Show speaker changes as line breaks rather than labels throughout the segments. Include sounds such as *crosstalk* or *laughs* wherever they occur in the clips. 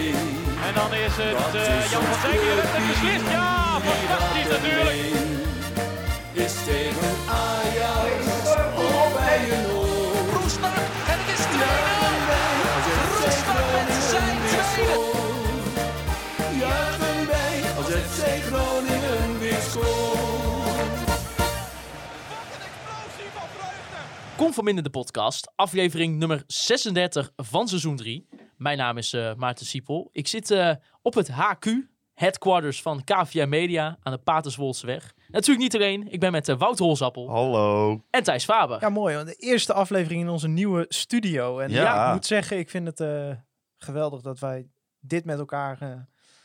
En dan is het eh, Jan van Dijk die de wedstrijd beslist. Ja, fantastisch natuurlijk.
Is tegen Ajax of bij een oor.
Roestak en het is 2-0. Roestak met zijn tweede.
Juichen wij als FC Groningen weer scoort.
Kom van Minder de podcast, aflevering nummer 36 van seizoen 3. Mijn naam is eh, Maarten Siepel. Ik zit eh, op het HQ, headquarters van KVM Media, aan de Paterswolseweg. Natuurlijk niet alleen, ik ben met eh, Wout Holzappel
Hallo.
en Thijs Faber.
Ja, mooi. Want de eerste aflevering in onze nieuwe studio. En
Ja.
ja, ik moet zeggen, ik vind het eh, geweldig dat wij dit met elkaar eh,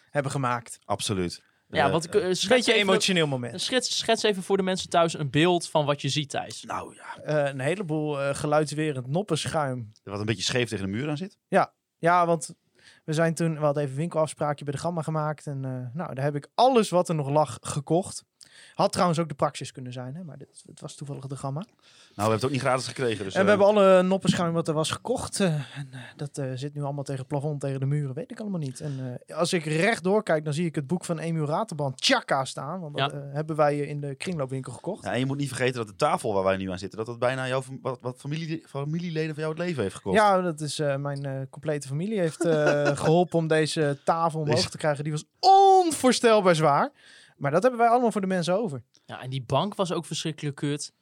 hebben gemaakt.
Absoluut.
Ja,
Eh,
wat ik, eh, schets
Een beetje
even-
emotioneel moment.
Schets, schets even voor de mensen thuis een beeld van wat je ziet, Thijs.
Nou ja,
Eh, een heleboel eh, geluidswerend noppenschuim.
wat een beetje scheef tegen de muur aan zit. Nou,
Ja, want we zijn toen, we hadden even een winkelafspraakje bij de Gamma gemaakt. En eh, nou, daar heb ik alles wat er nog lag gekocht. Had trouwens ook de Praxis kunnen zijn, hè? maar dit, het was toevallig de Gamma.
Nou, we hebben het ook niet gratis gekregen. Dus,
en we
eh,
hebben alle noppenschuim wat er was gekocht. eh, en, eh, dat eh, zit nu allemaal tegen het plafond, tegen de muren, weet ik allemaal niet. En eh, als ik rechtdoor kijk, dan zie ik het boek van Emu Ratenband, Chaka, staan. Want dat
Ja.
eh, hebben wij eh, in de kringloopwinkel gekocht.
ja, en je moet niet vergeten dat de tafel waar wij nu aan zitten, dat dat bijna jouw fam- wat, wat familie, familieleden van jou het leven heeft gekost.
Ja, dat is eh, mijn eh, complete familie
*laughs*
heeft eh, geholpen om deze tafel omhoog
Deze-
te krijgen. Die was onvoorstelbaar zwaar. Maar dat hebben wij allemaal voor de mensen over.
Ja, en die bank was ook verschrikkelijk kut.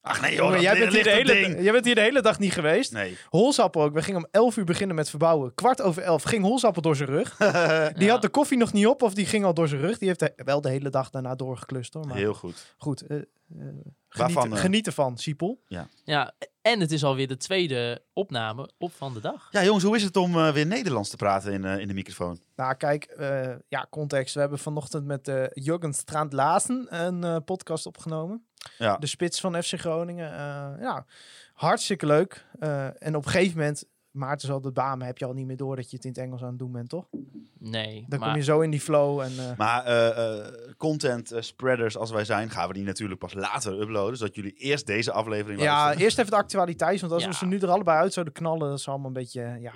Ach nee, joh,
Jongen,
dat
jij,
ligt-
bent hier de
ligt dat
hele,
ding.
jij bent hier de hele dag niet geweest.
Nee.
Holsappel ook. We gingen om 11 uur beginnen met verbouwen. Kwart over 11 ging Holsappel door zijn
*laughs*
rug. Die
Ja.
had de koffie nog niet op of die ging al door zijn rug. Die heeft de- wel de hele dag daarna doorgeklust hoor. Maar
Heel goed.
goed, eh, eh,
Waarvan,
geniet,
eh?
geniet ervan, Siepel.
Ja, en het is alweer de tweede opname op van de dag.
Ja, jongens, hoe is het om eh, weer Nederlands te praten in, eh, in de microfoon?
Nou kijk, eh, ja context. We hebben vanochtend met eh Jurgen Straand Laassen een eh, podcast opgenomen.
Ja.
De spits van FC Groningen. Eh, ja, hartstikke leuk. Eh, en op een gegeven moment, Maarten zal de bamen, heb je al niet meer door dat je het in het Engels aan het doen bent, toch?
Nee,
Dan kom
maar
je zo in die flow en... eh,
Maar eh, eh, content eh, spreaders als wij zijn, gaan we die natuurlijk pas later uploaden. Zodat jullie eerst deze aflevering
Ja,
luisteren.
eerst even de actualiteit. Want als
Ja.
we ze nu er allebei uit zouden knallen, dat is allemaal een beetje, eh, ja,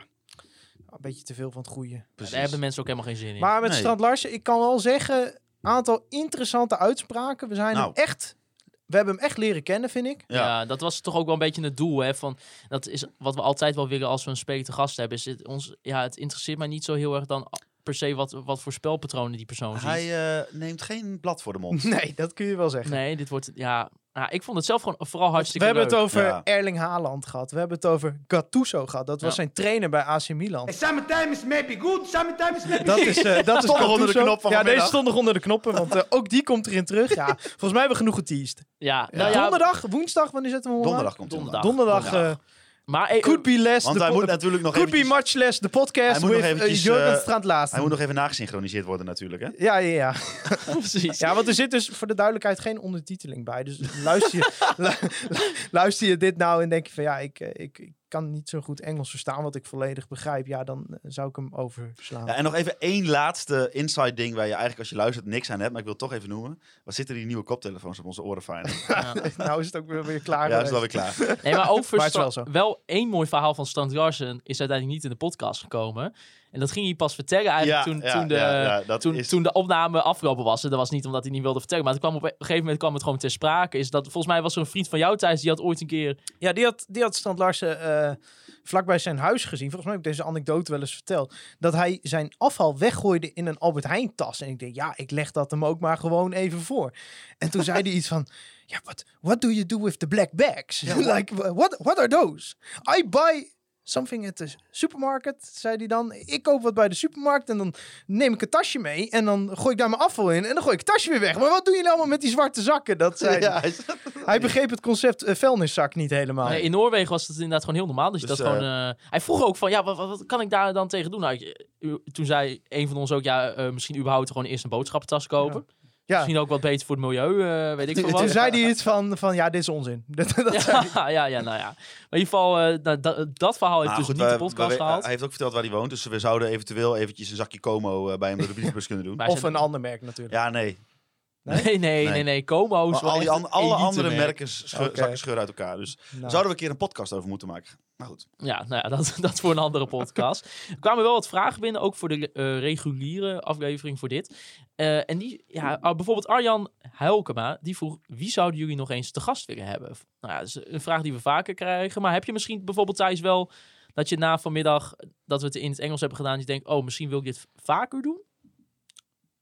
een beetje te veel van het goede.
Precies.
daar hebben mensen ook helemaal geen zin in.
Maar met
Nee.
Strand Larsen, ik kan wel zeggen, aantal interessante uitspraken. We zijn
Nou.
hem echt, we hebben hem echt leren kennen, vind ik. *laughs*
Ja.
Ja. dat was toch ook wel een beetje het doel. Hè? Van, dat is wat we altijd wel willen als we een speler te gast hebben. Is het, ons, ja, het interesseert mij niet zo heel erg dan per se wat, wat voor spelpatronen die persoon
Hij
ziet.
eh, neemt geen blad voor de
*laughs*
mond.
Nee, dat kun je wel zeggen.
Nee, dit wordt... Ja, ja, ik vond het zelf gewoon vooral
eh, We
hartstikke
hebben
leuk.
het over
Ja.
Erling Haaland gehad. We hebben het over Gattuso gehad. Dat was
Ja.
zijn trainer bij AC Milan.
Sometimes maybe good, sometimes maybe
Dat
*laughs*
is, eh dat is
Stond nog onder de
Gattuso.
knop van
Ja,
vanmiddag.
deze stond nog onder de knoppen, want eh, ook die komt erin
*laughs*
terug. Ja, volgens mij hebben we genoeg geteased.
Ja, nou ja,
Donderdag, woensdag, wanneer zetten we hem online?
Donderdag komt hij
Donderdag.
Donderdag.
Donderdag.
eh,
maar, eh,
could be less.
Want
de
hij
po-
moet natuurlijk nog
could
eventjes-
be much less. De podcast
Hij moet
with
nog
eh,
eventjes,
Jurgen
eh,
Strand Laassen.
Hij moet nog even nagesynchroniseerd worden natuurlijk, hè?
Ja, ja, ja.
*laughs* precies.
ja, want er zit dus voor de duidelijkheid geen ondertiteling bij. Dus luister
*laughs*
je, lu- lu- luister je dit nou en denk je van ja, ik, eh, ik, ik kan niet zo goed Engels verstaan wat ik volledig begrijp. Ja, dan eh, zou ik hem overslaan.
Ja, en nog even één laatste inside ding waar je eigenlijk als je luistert niks aan hebt, maar ik wil het toch even noemen. Wat zitten die nieuwe koptelefoons op onze oren fijn?
*laughs* nou is het ook weer, weer klaar.
ja, is
geweest.
wel weer
*laughs*
klaar.
Nee, maar ook voor
Maar het is
Stra-
wel
wel,
zo.
één mooi verhaal van Stan Larsen is uiteindelijk niet in de podcast gekomen. En dat ging hij pas vertellen
Ja,
eigenlijk toen,
ja,
toen, de,
ja, ja, dat
toen,
is-
toen de opname afgelopen was. En dat was niet omdat hij niet wilde vertellen. Maar het kwam op een gegeven moment kwam het gewoon ter sprake. Is dat, volgens mij was er een vriend van jou thuis die had ooit een keer...
Ja, die had, die had Strand Larsen eh, vlakbij zijn huis gezien. Volgens mij heb ik deze anekdote wel eens verteld. Dat hij zijn afval weggooide in een Albert Heijn tas. En ik denk, ja, ik leg dat hem ook maar gewoon even voor. En toen zei hij iets van... Ja, what, what do you do with the black bags? *laughs* like, wha- what, what are those? I buy something at the supermarket, zei hij dan. Ik koop wat bij de supermarkt en dan neem ik een tasje mee. En dan gooi ik daar mijn afval in en dan gooi ik het tasje weer weg. Maar wat doen jullie allemaal met die zwarte zakken? Dat zei hij.
Ja, is-
Hij begreep het concept eh, vuilniszak niet helemaal.
Nee, in Noorwegen was dat inderdaad gewoon heel normaal. Dus, je
Dus,
dat gewoon, eh, hij vroeg ook van, ja, wat, wat, wat kan ik daar dan tegen doen? Nou, ik- u- toen zei een van ons ook, ja, eh, misschien überhaupt gewoon eerst een boodschappentas kopen.
ja.
Misschien ook wat beter voor het milieu, eh, weet ik veel wat.
Toen zei hij iets van, van ja, dit is onzin. *laughs* Dat, dat zei hij.
*laughs* Ja, ja, ja, nou ja. Maar in ieder geval, eh, dat- dat, dat verhaal heeft
Nou,
dus
goed,
niet
wij-
de podcast
wij-
gehaald.
Hij heeft ook verteld waar hij woont, dus we
*laughs*
zouden eventueel eventjes een zakje Como eh, bij hem door de brievenbus kunnen doen.
Maar-
Of een ander merk natuurlijk.
Ja, nee.
Nee, nee,
Nee.
nee, nee. Como is wel
Maar al
Oh, echt
die an-
een
alle
elite
andere
merk.
merken scheur,
Oké.
zakken scheuren uit elkaar. Dus
Nou.
zouden we een keer een podcast over moeten maken. Maar goed.
Ja, nou ja, dat, *laughs* dat voor een andere podcast. Er kwamen wel wat vragen binnen, ook voor de eh, reguliere aflevering voor dit. Eh, en die, ja, ah, bijvoorbeeld Arjan Huilkema, die vroeg, wie zouden jullie nog eens te gast willen hebben? Nou ja, dat is een vraag die we vaker krijgen. Maar heb je misschien bijvoorbeeld Thijs wel, dat je na vanmiddag, dat we het in het Engels hebben gedaan, dat je denkt, oh, misschien wil ik dit vaker doen?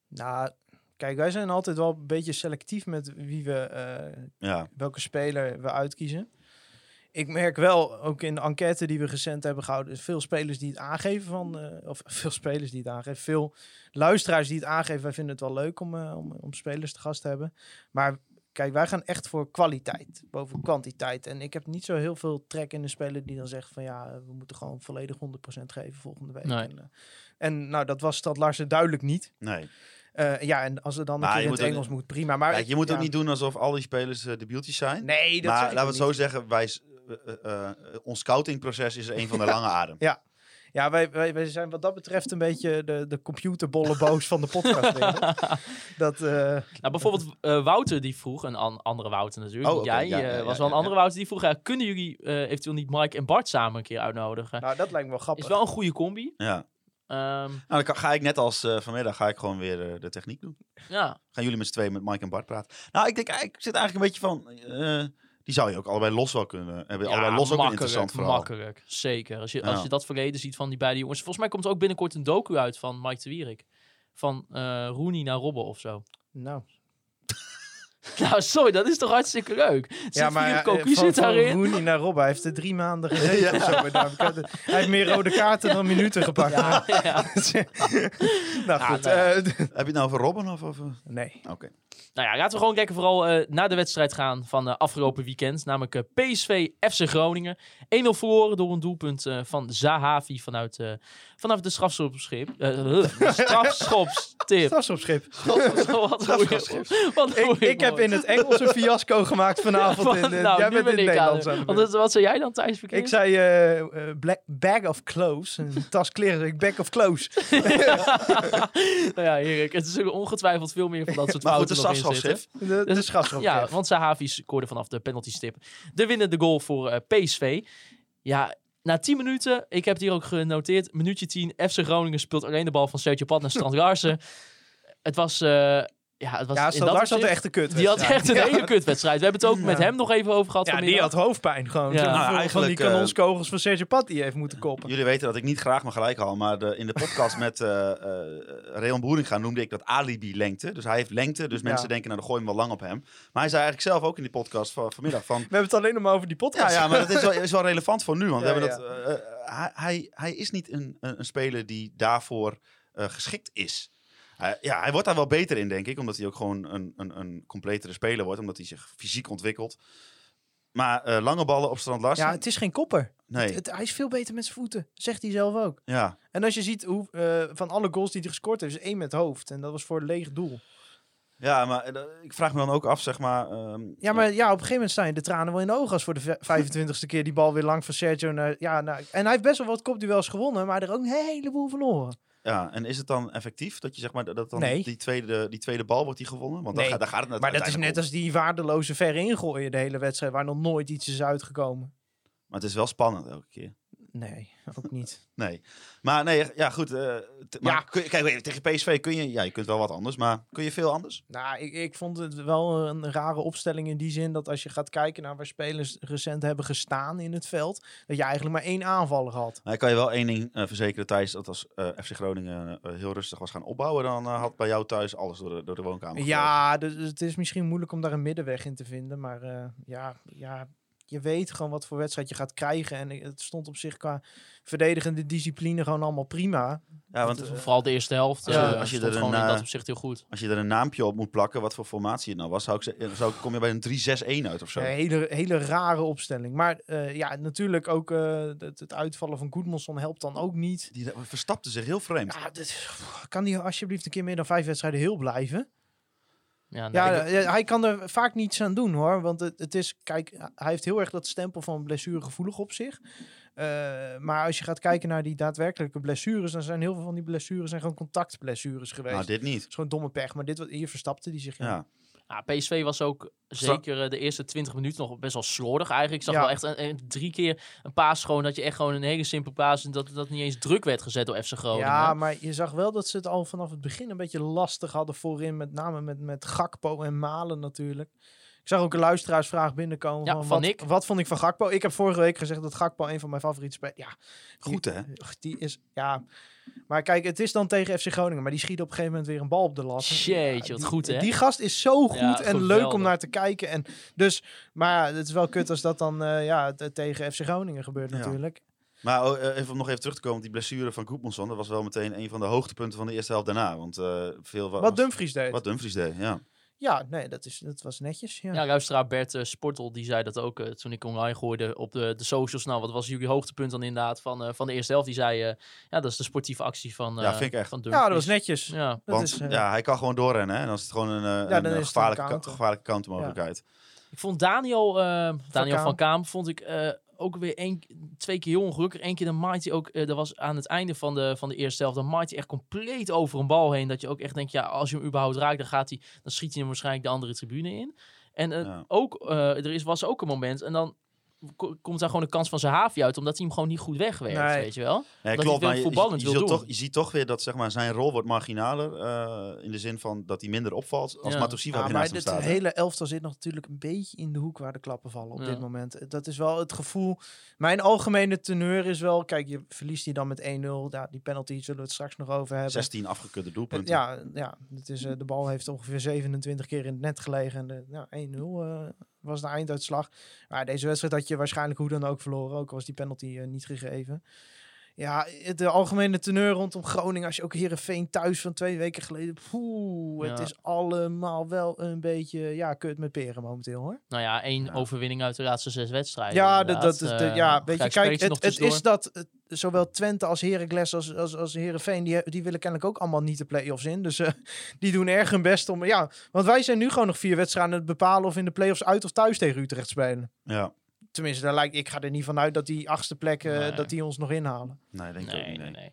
Nou, kijk, wij zijn altijd wel een beetje selectief met wie we, eh,
Ja,
welke speler we uitkiezen. Ik merk wel, ook in de enquête die we recent hebben gehouden, veel spelers die het aangeven van, eh, of *laughs* veel spelers die het aangeven, veel luisteraars die het aangeven, wij vinden het wel leuk om, eh, om, om spelers te gast te hebben. Maar kijk, wij gaan echt voor kwaliteit boven kwantiteit. En ik heb niet zo heel veel trek in een speler die dan zegt van ja, we moeten gewoon volledig 100% geven volgende week.
Nee.
En, eh, en nou, dat was Stad Larsen duidelijk niet.
nee.
Eh, ja, en als het dan een
Maar
keer
je
in het
moet ook-
Engels moet, prima. Maar
Kijk, je moet
ja.
ook niet doen alsof al die spelers de debieltjes zijn.
Nee, dat
maar
zeg
laten
ik
we het
ook niet.
zo zeggen, wij, s- eh, eh, eh, ons scoutingproces is
*laughs*
een van de lange adem.
Ja, wij, wij, wij zijn wat dat betreft een beetje de, de computerbollenboos van de podcast.
*laughs*
denk ik. dat, eh,
Nou,
*laughs*
bijvoorbeeld eh, Wouter die vroeg, een an- andere Wouter natuurlijk,
Oh,
niet
oké,
jij
ja,
eh,
ja,
was
ja,
wel een
ja,
andere Wouter, die vroeg, ja, kunnen jullie eh, eventueel niet Mike en Bart samen een keer uitnodigen?
nou, dat lijkt me wel
Is
grappig.
wel een goede combi.
Ja.
Ehm,
Nou, dan kan- ga ik net als eh, vanmiddag ga ik gewoon weer eh, de techniek doen.
ja,
Gaan jullie met z'n tweeën met Mike en Bart praten? Nou, ik denk, eh, ik zit eigenlijk een beetje van. eh, die zou je ook allebei los wel kunnen. eh, Hebben allebei los ook een interessant verhaal.
makkelijk. Zeker. Als je, als
Ja.
je dat verleden ziet van die beide jongens. Volgens mij komt er ook binnenkort een docu uit van Mike de Wierik. Van eh Rooney naar Robben of zo. *laughs*
Nou,
Nou, sorry, dat is toch hartstikke leuk. Zit ja, maar
eh,
Cocu
van,
zit
van
daarin.
Rooney naar Rob, hij heeft er drie maanden gezeten. of zo, maar daar- ik had het- Hij heeft meer rode kaarten dan minuten gepakt.
*laughs* Ja.
*laughs* nou goed,
nou ja.
eh, *laughs* d-
Heb je het nou over Robben of over?
nee.
Oké.
Nou ja, laten we gewoon kijken vooral eh, naar de wedstrijd gaan van eh, afgelopen weekend. Namelijk eh, PSV FC Groningen. 1-0 verloren door een doelpunt eh, van Zahavi vanuit, eh, vanaf de strafschopschip. eh *laughs* strafschopstip.
*laughs* Strafschopschip.
Wat hoor je- wat
Ik,
hoor je
ik heb
mooi.
in het Engels een fiasco gemaakt vanavond.
*laughs* Want,
in, eh,
nou,
jij
nu
bent in
ben ik
Nederland.
aan
aan
de-
de
Want
beurt.
dat- wat zei jij dan thuis verkeerd?
Ik zei eh, eh, black, bag of clothes. Een tas kleren, zei ik bag of clothes.
nou ja, Erik, het is ongetwijfeld veel meer van
*laughs*
dat soort
Maar goed, de
fouten nog in
strafschopschip.
zitten.
De, de
Dus-
strafschopschip.
Ja, want Sahavi scoorde vanaf de penalty stip. De winnende goal voor eh, PSV. Ja, na 10 minuten, ik heb het hier ook genoteerd, minuutje 10, FC Groningen speelt alleen de bal van Sergio Pat naar
*laughs*
Strand Larsen. Het was... eh, ja, het was
Ja,
in
Stan
dat
Lars had
opzicht-
echt een kut.
Die had echt een
Ja.
hele kutwedstrijd. We hebben het ook met hem nog even over gehad
Ja, die
vanmiddag.
had hoofdpijn gewoon.
Ja.
Ja.
Nou,
van die
eigenlijk, eh,
kanonskogels van Sergio Pat die heeft moeten koppen.
Jullie weten dat ik niet graag mijn gelijk haal, maar de, in de podcast met eh eh, Rayon Boeringa noemde ik dat alibi lengte. Dus hij heeft lengte, dus
Ja.
mensen denken, nou dan gooi je hem wel lang op hem. Maar hij zei eigenlijk zelf ook in die podcast van, vanmiddag van,
We hebben het alleen nog maar over die
Ja,
podcast.
ja
*laughs*
maar dat is wel, is wel relevant voor nu. Want
Ja,
we hebben dat, eh, eh, hij- hij, hij is niet een, een, een speler die daarvoor eh, geschikt is. Hij- ja, hij wordt daar wel beter in, denk ik. Omdat hij ook gewoon een, een, een completere speler wordt. Omdat hij zich fysiek ontwikkelt. Maar eh, lange ballen op strand Larsen?
Ja, het is geen kopper.
nee.
Het, hij is veel beter met zijn voeten, zegt hij zelf ook.
ja.
En als je ziet hoe, eh, van alle goals die hij gescoord heeft, is één met hoofd. En dat was voor een leeg doel.
ja, maar eh, dat- ik vraag me dan ook af, zeg maar... ehm,
Ja, maar ja, op een gegeven moment zijn de tranen wel in de ogen als voor de ve- *laughs* 25ste keer die bal weer lang van Sergio naar... Ja, nou, en hij heeft best wel wat kopduels gewonnen, maar er ook een heleboel verloren.
ja, en is het dan effectief dat je zeg maar dat- dat dan
Nee.
die, tweede, die tweede bal wordt die gewonnen? Want
Nee.
daar, gaat- daar gaat het
Maar dat is
uiteindelijk
net
om.
als die waardeloze verre ingooien de hele wedstrijd, waar nog nooit iets is uitgekomen.
Maar het is wel spannend elke keer.
Nee, ook niet.
Nee. Maar nee, ja, goed. eh, t- maar
Ja.
kun je- kijk, tegen PSV kun je, ja, je kunt wel wat anders, maar kun je veel anders?
Nou, ik, ik vond het wel een rare opstelling in die zin dat als je gaat kijken naar waar spelers recent hebben gestaan in het veld, dat je eigenlijk maar één aanvaller had.
Maar Nou, ik kan je wel één ding eh, verzekeren, Thijs, dat als eh, FC Groningen eh, heel rustig was gaan opbouwen, dan eh, had bij jou thuis alles door de, door de woonkamer. gevlogen.
Ja, dus het is misschien moeilijk om daar een middenweg in te vinden, maar eh, ja, ja, je weet gewoon wat voor wedstrijd je gaat krijgen en het stond op zich qua verdedigende discipline gewoon allemaal prima.
Ja, want eh,
Vooral de eerste helft.
Als
je-
eh,
als je
stond
er
gewoon
een,
in dat
eh,
opzicht heel goed.
als je er een naampje op moet plakken, wat voor formatie het nou was, zou ik ze- zou, ik- kom je bij een 3-6-1 uit of zo.
Een hele, hele rare opstelling. Maar eh, ja, natuurlijk ook eh, het, het uitvallen van Goedmanson helpt dan ook niet.
Die
Nou,
verstapte zich heel vreemd. Nou,
Ja, dit, kan die alsjeblieft een keer meer dan vijf wedstrijden heel blijven?
Ja, nou,
Ja,
ik-
eh, hij kan er vaak niets aan doen hoor. Want het, het is, kijk, hij heeft heel erg dat stempel van blessuregevoelig op zich. Eh, maar als je gaat kijken naar die daadwerkelijke blessures, dan zijn heel veel van die blessures zijn gewoon contactblessures geweest.
Nou, dit niet.
Het is gewoon domme pech. Maar dit, wat- hier verstapte die zich.
Ja.
Ja, PSV was ook
Stra-
zeker eh, de eerste 20 minuten nog best wel slordig eigenlijk. Ik zag
Ja.
wel echt een- een- drie keer een paas gewoon dat je echt gewoon een hele simpele paas en dat dat niet eens druk werd gezet door FC Groningen.
Ja, maar je zag wel dat ze het al vanaf het begin een beetje lastig hadden voorin. Met name met, met Gakpo en Malen natuurlijk. Ik zag ook een luisteraarsvraag binnenkomen.
Ja,
van
van
wat,
Nick.
wat vond ik van Gakpo? Ik heb vorige week gezegd dat Gakpo een van mijn favoriete spelers... Ja,
Goed, hè?
Ugh, Die is, ja. Maar kijk, het is dan tegen FC Groningen. Maar die schiet op een gegeven moment weer een bal op de lat.
Jeetje,
Ja,
wat
die-
goed, hè?
Die gast is zo goed
Ja,
en leuk
geweldig.
om naar te kijken. En dus, maar ja, het is wel kut als dat dan eh, ja, t- tegen FC Groningen gebeurt
Ja.
natuurlijk.
Maar oh, eh, even om nog even terug te komen, die blessure van Koepmanson, dat was wel meteen een van de hoogtepunten van de eerste helft daarna. Want eh, veel wa- was-
Wat Dumfries deed.
wat Dumfries deed, ja.
Ja, nee, dat, is, dat was netjes. Ja.
Ja, luisteraar Bert eh, Sportel, die zei dat ook eh, toen ik online gooide op de, de socials. Nou, wat was jullie hoogtepunt dan inderdaad van, eh, van de eerste helft? Die zei, eh, ja, dat is de sportieve actie van, eh
Ja, vind ik echt.
van
Ja,
Dumfries.
dat was netjes.
Ja,
Dat
Want
is, eh,
ja, hij kan gewoon doorrennen. Hè? En dan is het gewoon een, eh, een, eh,
dan is het een
gevaarlijke,
counter.
ka- gevaarlijke countermogelijkheid.
ik vond Daniel, eh, Daniel
Kaam.
van Kaam, vond ik eh, ook weer één, twee keer heel ongelukkig. Eén keer dan maait hij ook, eh dat was aan het einde van de, van de eerste helft, dan maait hij echt compleet over een bal heen. Dat je ook echt denkt, ja, als je hem überhaupt raakt, dan, gaat hij, dan schiet hij hem waarschijnlijk de andere tribune in. En eh,
Ja.
ook, eh, er is, was ook een moment, en dan ko- komt daar gewoon een kans van zijn haafje uit, omdat hij hem gewoon niet goed wegwerkt,
Nee.
weet je wel?
Nee,
hij
klopt,
veel
maar je,
voetballend
je,
wil
je, zult
doen.
toch, je ziet toch weer dat zeg maar, zijn rol wordt marginaler. eh, in de zin van dat hij minder opvalt als
Ja.
Matusiwa
Ja,
weer
maar
naast hem
dit
staat. hè.
hele elftal zit nog natuurlijk een beetje in de hoek waar de klappen vallen op
Ja.
dit moment. Dat is wel het gevoel. Mijn algemene teneur is wel, kijk, je verliest die dan met 1-0. Ja, die penalty zullen we het straks nog over hebben.
16 afgekudde
Eh,
doelpunten.
Ja, ja het is, eh, de bal heeft ongeveer 27 keer in het net gelegen. En de, ja, 1-0 eh, was de einduitslag. Maar deze wedstrijd had je waarschijnlijk hoe dan ook verloren. Ook al was die penalty eh, niet gegeven. Ja, het- de algemene teneur rondom Groningen. Als je ook Herenveen thuis van twee weken geleden. Poeh, het
Ja.
is allemaal wel een beetje ja, kut met peren momenteel hoor.
Nou ja, één
Ja.
overwinning uit de laatste zes wedstrijden.
Ja, dat,
inderdaad.
dat is de,
Eh,
ja, weet je,
gelijk
kijk,
speeltje nog
het, het
tussendoor.
is dat eh, zowel Twente als Heracles als, als, als Heerenveen, die, die willen kennelijk ook allemaal niet de play-offs in. Dus eh, *laughs* die doen erg hun best om, ja, want wij zijn nu gewoon nog vier wedstrijden aan het bepalen of in de play-offs uit of thuis tegen Utrecht spelen.
Ja.
Tenminste, daar lijkt, ik ga er niet van uit dat die achtste plek, eh,
Nee.
dat die ons nog inhalen.
Nee, denk ik ook
Nee,
niet.
nee,
nee.
nee.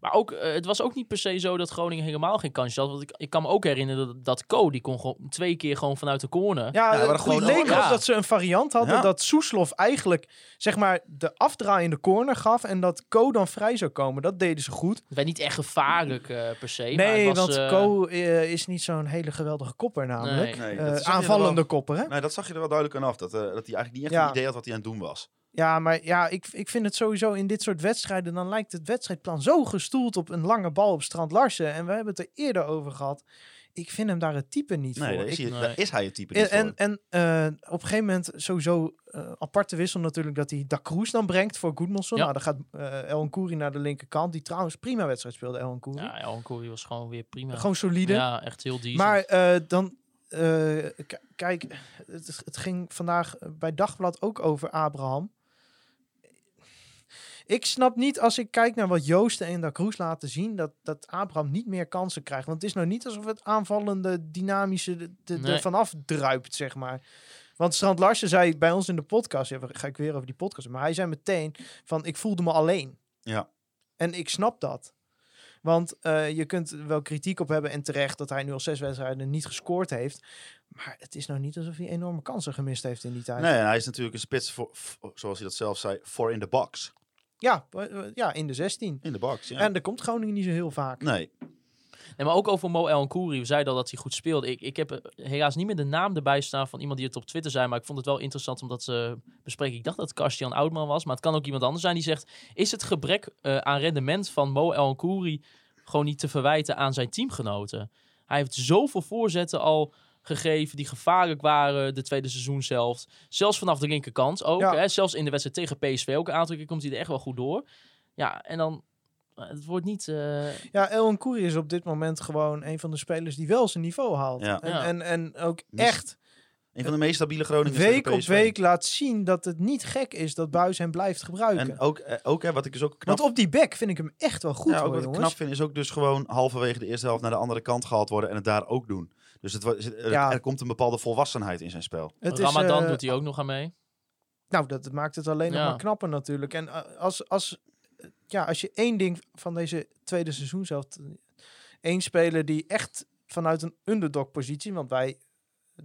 Maar ook, eh, het was ook niet per se zo dat Groningen helemaal geen kansje had. Want ik, ik kan me ook herinneren dat, dat Co, die kon gewoon twee keer gewoon vanuit de corner.
Ja,
Ja, maar
het
gewoon-
leek
Ja.
alsof dat ze een variant hadden
Ja.
dat Soeslof eigenlijk, zeg maar, de afdraaiende corner gaf en dat Ko dan vrij zou komen. Dat deden ze goed.
Het werd niet echt gevaarlijk eh, per se. maar
Nee,
het was,
want
eh,
Ko eh, is niet zo'n hele geweldige kopper namelijk.
Nee.
Nee,
Eh,
dat zag je er
aanvallende
wel-
kopper, hè?
Nee, dat zag je er wel duidelijk aan af. Dat, eh, dat hij eigenlijk niet echt
Ja.
een idee had wat hij aan het doen was.
Ja, maar ja, ik, ik vind het sowieso in dit soort wedstrijden... dan lijkt het wedstrijdplan zo gestoeld op een lange bal op Strand Larsen. En we hebben het er eerder over gehad. Ik vind hem daar het type niet
Nee,
voor.
daar is,
Ik-
hij,
nee.
daar is hij het type niet
en
voor.
en, en eh, op een gegeven moment sowieso eh, aparte wissel natuurlijk... dat hij Da Cruz dan brengt voor Goodmanson.
Ja.
Nou, dan gaat eh El Nkouri naar de linkerkant. Die trouwens prima wedstrijd speelde, El Nkouri.
Ja, Elhan Kouri was gewoon weer prima.
Gewoon solide.
Ja, echt heel decent.
Maar eh, dan, eh, k- kijk, het, het ging vandaag bij Dagblad ook over Abraham. Ik snap niet als ik kijk naar wat Joosten en Da Cruz laten zien, dat, dat Abraham niet meer kansen krijgt. Want het is nou niet alsof het aanvallende, dynamische de, de,
Nee.
er vanaf druipt, zeg maar. Want Strand Larsen zei bij ons in de podcast, ja, we- ga ik weer over die podcast, maar hij zei meteen van ik voelde me alleen.
Ja.
En ik snap dat. Want eh, je kunt er wel kritiek op hebben en terecht dat hij nu al zes wedstrijden niet gescoord heeft. Maar het is nou niet alsof hij enorme kansen gemist heeft in die tijd.
Nee, en hij is natuurlijk een spits, voor, voor- zoals hij dat zelf zei, voor in de box.
Ja, eh, eh, ja, in de 16.
In de box, ja.
En daar komt Groningen niet zo heel vaak.
nee,
Nee, maar ook over Mo El Nkouri. We zeiden al dat hij goed speelde. Ik, ik heb eh, helaas niet meer de naam erbij staan van iemand die het op Twitter zei. Maar ik vond het wel interessant omdat ze bespreken. Ik dacht dat het Karstian Oudman was. Maar het kan ook iemand anders zijn die zegt... Is het gebrek eh, aan rendement van Mo El Nkouri gewoon niet te verwijten aan zijn teamgenoten? Hij heeft zoveel voorzetten al gegeven die gevaarlijk waren de tweede seizoen zelf. Zelfs vanaf de linkerkant ook.
Ja.
Hè? Zelfs in de wedstrijd tegen PSV ook een aantal keer komt hij er echt wel goed door. Ja, en dan... eh, Het wordt niet... eh,
Ja, Elon Koeri is op dit moment gewoon een van de spelers die wel zijn niveau haalt.
Ja.
En,
Ja.
En, en ook
Mis-
echt
Een van de meest stabiele Groningen.
Week op week laat zien dat het niet gek is dat Buis hem blijft gebruiken.
En ook, eh, ook hè, wat ik dus ook knap
Want op die back vind ik hem echt wel goed
ja, ook
hoor,
wat ik
jongens.
knap vind is ook dus gewoon halverwege de eerste helft naar de andere kant gehaald worden en het daar ook doen. Dus het, wa- er,
Ja.
er komt een bepaalde volwassenheid in zijn spel.
Het is,
Ramadan
eh,
doet hij ook nog aan mee.
Nou, dat maakt het alleen
Ja.
nog maar knapper natuurlijk. En eh, als, als, eh, ja, als je één ding van deze tweede seizoen zelf... één speler die echt vanuit een underdog-positie... want wij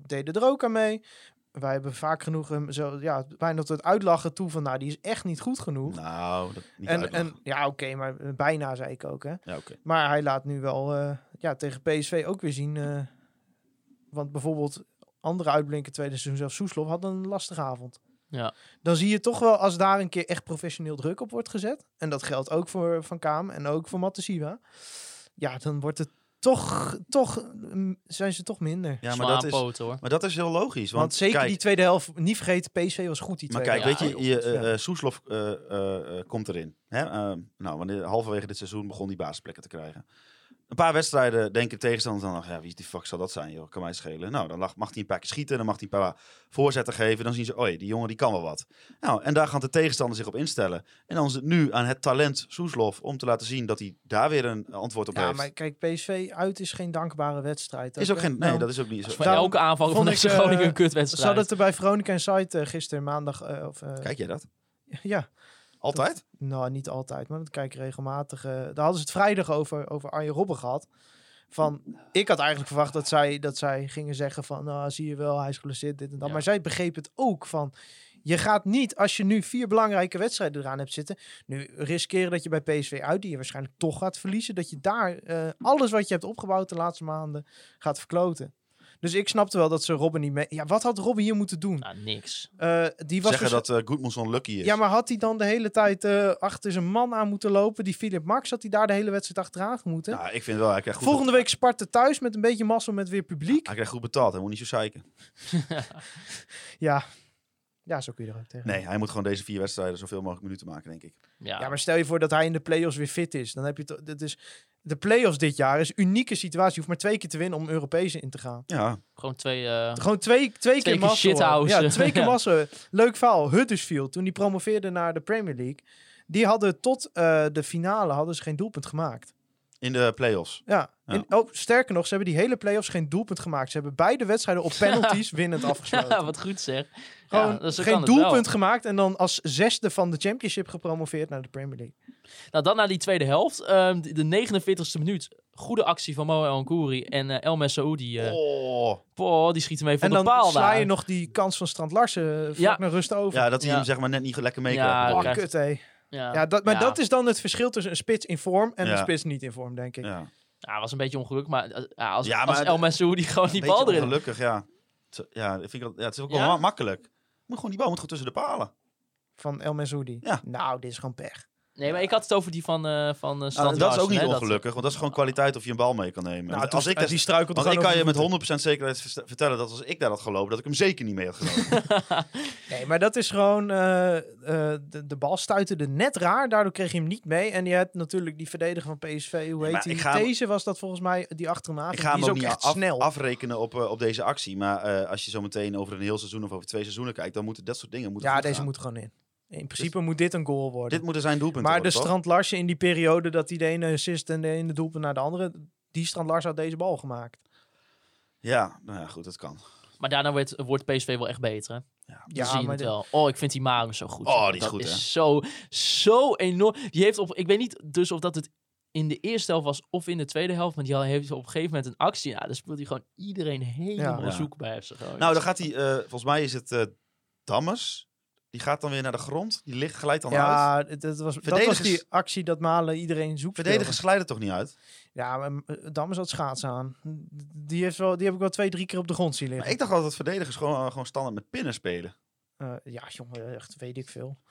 deden er ook aan mee. Wij hebben vaak genoeg hem zo, ja, bijna tot het uitlachen toe van... nou, die is echt niet goed genoeg.
Nou, dat niet
en,
uitlachen.
en, ja, oké, maar eh, bijna zei ik ook, hè.
ja, oké.
Maar hij laat nu wel eh, ja, tegen PSV ook weer zien. eh, want bijvoorbeeld andere uitblinken tweede seizoen, zelfs Soeslof, had een lastige avond.
Ja.
Dan zie je toch wel als daar een keer echt professioneel druk op wordt gezet. En dat geldt ook voor Van Kaam en ook voor Matasiwa. Ja, dan wordt het toch, toch mm, zijn ze toch minder.
Ja, maar
Zwaar
dat,
aan
is,
poten, hoor.
maar dat is heel logisch.
want,
Want,
zeker
kijk,
die tweede helft, niet vergeten, PSV was goed die
Maar
tweede
kijk,
helft.
weet
helft.
je, je
Ja, heel goed, ja.
eh, eh, Soeslof eh, eh, eh, komt erin. Hè? Eh, nou, wanneer, halverwege dit seizoen begon hij basisplekken te krijgen. Een paar wedstrijden denken tegenstanders dan nog, ja, wie de fuck zal dat zijn, joh, kan mij schelen. Nou, dan lag- mag hij een paar keer schieten, dan mag hij een paar voorzetten geven. Dan zien ze, oei, die jongen die kan wel wat. Nou, en daar gaan de tegenstanders zich op instellen. En dan is het nu aan het talent Soeslof om te laten zien dat hij daar weer een antwoord op
ja,
heeft.
maar kijk, PSV uit is geen dankbare wedstrijd.
eh, is ook geen, nee,
Nou,
dat is ook niet zo.
Voor
daarom
elke aanval van
vond
de
ik, eh,
Groningen een
Ze hadden
kutwedstrijd.
het er bij Veronica en Site gisteren maandag. eh, of, eh,
Kijk jij dat?
Ja,
Altijd?
Nou, niet altijd, maar dat kijk ik regelmatig. eh, daar hadden ze het vrijdag over, over Arjen Robben gehad. Van, ik had eigenlijk verwacht dat zij, dat zij gingen zeggen van... Nou, zie je wel, hij is geblesseerd, dit en dat.
Ja.
Maar zij begreep het ook van... Je gaat niet, als je nu vier belangrijke wedstrijden eraan hebt zitten... Nu riskeren dat je bij PSV uit, die je waarschijnlijk toch gaat verliezen... dat je daar eh, alles wat je hebt opgebouwd de laatste maanden gaat verkloten. Dus ik snapte wel dat ze Robben niet mee... Ja, wat had Robben hier moeten doen?
Nou, niks.
Eh, die was
Zeggen
waarsch-
dat eh Goodmanson lucky is.
ja, maar had hij dan de hele tijd eh, achter zijn man aan moeten lopen? Die Philip Max, had hij daar de hele wedstrijd achteraan moeten?
Nou, ik vind wel, hij krijgt goed Nou,
Volgende week Sparta thuis met een beetje massa met weer publiek.
Hij krijgt goed betaald, hij moet niet zo zeiken.
Ja. ja, zo kun je er ook tegen.
Nee, nou. hij moet gewoon deze vier wedstrijden zoveel mogelijk minuten maken, denk ik.
Ja,
Ja, maar stel je voor dat hij in de play-offs weer fit is. Dan heb je toch- dat is De play-offs dit jaar is een unieke situatie. Je hoeft maar twee keer te winnen om Europees in te gaan.
Ja,
gewoon twee... eh,
Gewoon twee, twee,
keer
keer massa.
shithousen. *laughs*
Ja, twee keer
Ja.
massa. Leuk verhaal. Huddersfield, toen die promoveerde naar de Premier League. Die hadden tot eh, de finale hadden ze geen doelpunt gemaakt.
in de play-offs.
Ja.
Ja.
En, oh, sterker nog, ze hebben die hele play-offs geen doelpunt gemaakt. Ze hebben beide
*laughs*
wedstrijden op penalties winnend afgesloten.
*laughs* ja, wat goed zeg.
Gewoon
Ja, dus zo kan
geen
het wel.
doelpunt gemaakt en dan als zesde van de championship gepromoveerd naar de Premier League.
Nou, dan naar die tweede helft. Ehm, de- de 49e minuut. Goede actie van Mo El Nkouri en eh El Messaoudi. eh
Oh.
poh, die schiet hem even
en
van de
dan
paal
sla je
daar.
nog die kans van Strand Larsen eh, vlak
Ja.
naar rust over.
Ja, dat hij
Ja.
hem zeg maar net niet lekker
Ja,
meekrijgt.
Oh,
Ja,
krijgt-
kut, hé.
Ja,
Ja, dat, maar
Ja.
dat is dan het verschil tussen een spits in vorm en
Ja.
een spits niet in vorm, denk ik.
ja.
Ja, was een beetje ongeluk, maar eh, ja, als,
Ja,
als
maar
El Messaoudi gewoon die
Beetje
bal erin...
ongelukkig, ja. Zo- Ja, dat vind ik, wel- ja, het is ook
Ja?
wel ma- makkelijk. Je Moet gewoon die bal moet gewoon tussen de palen.
Van El Menzoudi.
Ja.
Nou, dit is gewoon pech.
Nee, maar ik had het over die van, eh van eh,
Nou,
Strand
dat is ook
Larsen,
niet
hè,
ongelukkig, want dat is gewoon kwaliteit of je een bal mee kan nemen.
Nou,
Want
toen-
als ik
eh,
dat,
die struikelt
want ik
gewoon
kan je met
over de voeten.
100% zekerheid verst- vertellen dat als ik daar had gelopen, dat ik hem zeker niet mee had
*laughs*
genomen.
Nee, maar dat is gewoon. eh, eh, de, de bal stuitte er net raar. Daardoor kreeg je hem niet mee. En je hebt natuurlijk die verdediger van PSV. Hoe
maar
heet
ik
die?
ga hem-
Deze was dat volgens mij. Die achterna.
ik ga
die
hem
is
ook
ook
niet
echt
af-
snel.
afrekenen op, eh, op deze actie. Maar eh, als je zo meteen over een heel seizoen of over twee seizoenen kijkt, dan moeten dat soort dingen moeten
ja,
goed
deze
gaan.
moet gewoon in. In principe moet dit een goal worden.
Dit moeten zijn doelpunten
maar de
worden, toch?
Strand Larsen in die periode dat hij de ene assist en de ene doelpunt naar de andere. Die Strand Larsen had deze bal gemaakt.
Ja, nou ja, goed, dat kan.
Maar daarna werd, wordt PSV wel echt beter, hè? Ja, zie je
maar
het
de-
wel. Oh, ik vind die Marum zo goed.
Oh,
joh.
die is
dat
goed, hè?
is zo, zo enorm. Die heeft op, ik weet niet dus of dat het in de eerste helft was of in de tweede helft, maar die al- heeft op een gegeven moment een actie. Ja, daar speelt hij gewoon iedereen helemaal
Ja.
zoek bij. Heeft ze gewoon.
Nou, dan gaat hij, eh, volgens mij is het eh Dammers. Die gaat dan weer naar de grond. Die ligt, glijdt dan uit.
Ja, dat was, dat was
Verdedigers-
die actie dat Malen iedereen zoekt.
Verdedigers glijden toch niet uit?
Ja, maar eh, Dammers had schaatsen aan. Die, heeft wel, die heb ik wel twee, drie keer op de grond zien liggen.
Maar ik dacht altijd dat verdedigers gewoon, eh, gewoon standaard met pinnen spelen.
Eh, ja, jongen, echt weet ik veel. *laughs*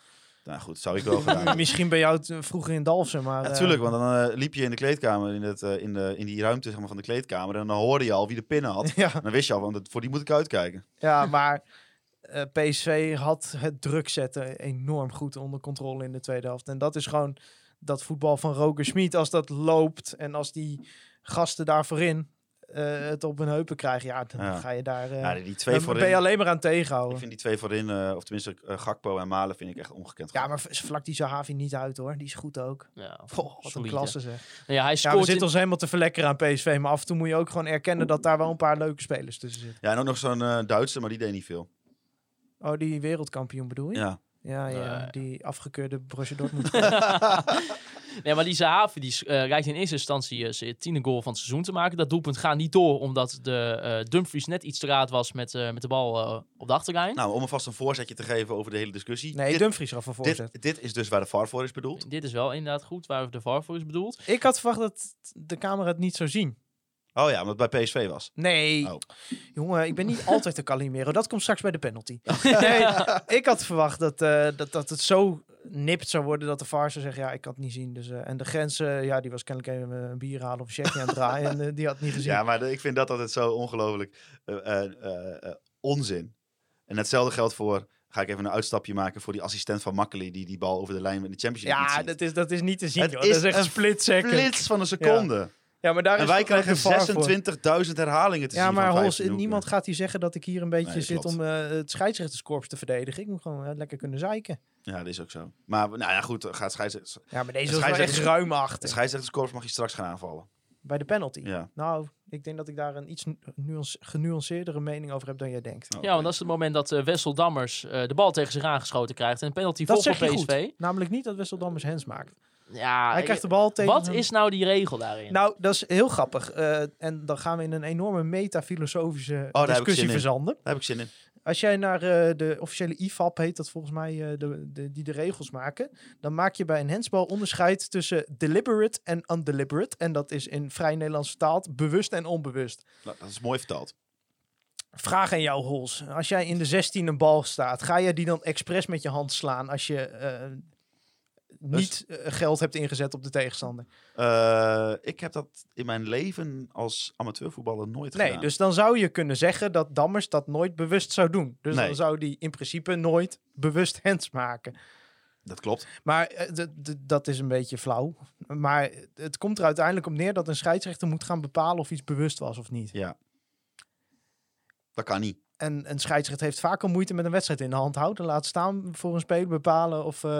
Nou goed, zou ik wel gedaan hebben.
Misschien bij jou t- eh, vroeger in Dalfsen, maar... eh,
Natuurlijk, want dan eh, liep je in de kleedkamer, in, het, eh, in, de, in die ruimte zeg maar, van de kleedkamer. En dan hoorde je al wie de pinnen had.
*laughs* *laughs* ja,
En dan wist je al, want dat- voor die moet ik uitkijken.
ja, maar eh, PSV had het druk zetten enorm goed onder controle in de tweede helft. En dat is gewoon dat voetbal van Roger Schmid. Als dat loopt en als die gasten daar voorin eh, het op hun heupen krijgen, ja, dan
Ja.
ga je daar... eh
Ja, die twee
dan ben je
voorin.
alleen maar aan
Ik
tegenhouden.
vind die twee voorin, eh, of tenminste eh, Gakpo en Malen, vind ik echt ongekend.
Ja, maar ze vlakt die Zahavi niet uit hoor. Die is goed ook.
Ja,
Goh, wat een
solide.
klasse zeg.
Nou ja, hij
Ja, we
scoort in-
zitten ons helemaal te verlekkeren aan PSV. Maar af en toe moet je ook gewoon erkennen dat daar wel een paar leuke spelers tussen zitten.
Ja, en ook nog zo'n eh Duitse, maar die deed niet veel.
Oh, die wereldkampioen bedoel je?
Ja.
Ja, ja,
Nee.
die afgekeurde Borussia Dortmund. *laughs*
nee, maar die Zahavi die eh, lijkt in eerste instantie eh, zijn tiende goal van het seizoen te maken. Dat doelpunt gaat niet door, omdat de eh, Dumfries net iets te raad was met, eh, met de bal eh, op de achterlijn.
Nou, om alvast een voorzetje te geven over de hele discussie.
Nee,
dit,
Dumfries gaf een voorzet.
dit, dit is dus waar de VAR voor is bedoeld.
Dit is wel inderdaad goed, waar de VAR voor is
*laughs*
bedoeld.
Ik had verwacht dat de camera het niet zou zien.
Oh ja, omdat het bij PSV was.
Nee,
Oh.
jongen, ik ben
*laughs*
niet altijd de Calimero. Dat komt straks bij de penalty. Nee, ik had verwacht dat, eh, dat, dat het zo nipt zou worden dat de VAR zou zeggen, ja, ik kan het niet zien. Dus, eh, en de grens, eh, ja, die was kennelijk even een bier halen of een checkje aan het draaien. en eh, die had het niet gezien.
Ja, maar de- ik vind dat altijd zo ongelooflijk eh, eh, eh, eh, onzin. En hetzelfde geldt voor, ga ik even een uitstapje maken voor die assistent van Makkeli, die die bal over de lijn in de Championship
Ja,
niet ziet.
dat is, dat is niet te zien.
Het
joh. Dat is
is
echt
een
een split second.
Flits van een seconde.
Ja, maar daar
En
is
wij
ook de VAR voor.
krijgen 26.000 herhalingen te
Ja,
zien.
maar
van
Hols,
15
niemand
hoeken.
gaat hier zeggen dat ik hier een beetje
Nee,
zit
klopt.
om eh, het scheidsrechterskorps te verdedigen. Ik moet gewoon eh, lekker kunnen zeiken.
Ja, dat is ook zo. Maar nou ja, goed, gaat scheidsrechter...
Ja, maar
was
deze was
wel
echt
scheidsrechters-
ruim
De
achter.
scheidsrechterskorps mag je straks gaan aanvallen.
Bij de penalty.
Ja.
Nou, ik denk dat ik daar een iets nu- nuance- genuanceerdere mening over heb dan jij denkt.
Oh,
Ja, want dat is het moment dat eh, Wessel Dammers eh, de bal tegen zich aangeschoten krijgt. En een penalty volgt
Dat zeg
voor
je
PSV.
goed. Namelijk niet dat Wesseldammers hands maakt.
Ja,
Hij
ik-
krijgt de bal tegen
wat
hem.
is nou die regel daarin?
Nou, dat is heel grappig. Eh, en dan gaan we in een enorme metafilosofische
Oh, daar heb ik zin
discussie
in.
verzanden.
Daar heb ik zin in.
Als jij naar eh, de officiële IFAB heet, dat volgens mij eh, de, de, die de regels maken, dan maak je bij een handsbal onderscheid tussen deliberate en undeliberate. En dat is in vrij Nederlands vertaald bewust en onbewust.
Nou, dat is mooi vertaald.
Vraag aan jou, Hols. Als jij in de 16 een bal staat, ga jij die dan expres met je hand slaan als je eh, niet eh, geld hebt ingezet op de tegenstander?
Eh, ik heb dat in mijn leven als amateurvoetballer nooit
Nee,
gedaan.
dus dan zou je kunnen zeggen dat Dammers dat nooit bewust zou doen. Dus
Nee.
dan zou die in principe nooit bewust hands maken.
Dat klopt.
Maar eh, d- d- dat is een beetje flauw. Maar het komt er uiteindelijk op neer dat een scheidsrechter moet gaan bepalen of iets bewust was of niet.
Ja. Dat kan niet.
En een scheidsrechter heeft vaak al moeite met een wedstrijd in de hand houden. Laat staan voor een speler bepalen of, eh,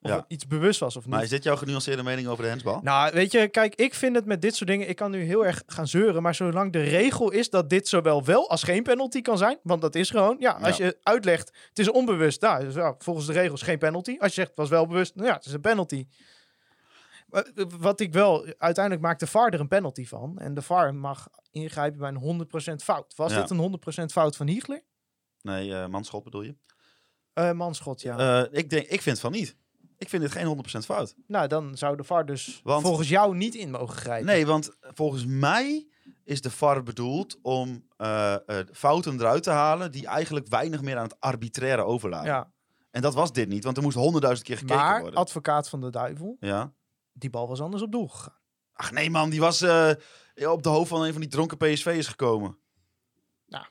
of
Ja.
er iets bewust was of niet.
Maar is dit jouw genuanceerde mening over de handsbal?
Nou, weet je, kijk, ik vind het met dit soort dingen. Ik kan nu heel erg gaan zeuren. Maar zolang de regel is dat dit zowel wel als geen penalty kan zijn. Want dat is gewoon. Ja, als
Ja.
je uitlegt. Het is onbewust. Nou, dus ja, volgens de regels geen penalty. Als je zegt het was wel bewust. Nou ja, het is een penalty. Maar, eh, Wat ik wel. Uiteindelijk maakt de VAR er een penalty van. En de VAR mag ingrijpen bij een 100% fout. Was
Ja.
dit een 100% fout van Hiegler?
Nee, eh, manschot bedoel je?
Eh manschot, ja.
Eh, ik, denk, ik vind van niet. Ik vind dit geen 100% fout.
nou, dan zou de VAR dus
Want-
volgens jou niet in mogen grijpen.
Nee, want volgens mij is de VAR bedoeld om eh, eh, fouten eruit te halen die eigenlijk weinig meer aan het arbitraire overlaten.
Ja,
En dat was dit niet, want er moest honderdduizend keer gekeken
maar
worden.
advocaat van de duivel.
Ja.
Die bal was anders op doel gegaan.
Ach nee man, die was eh, op de hoofd van een van die dronken PSV'ers gekomen.
Nou.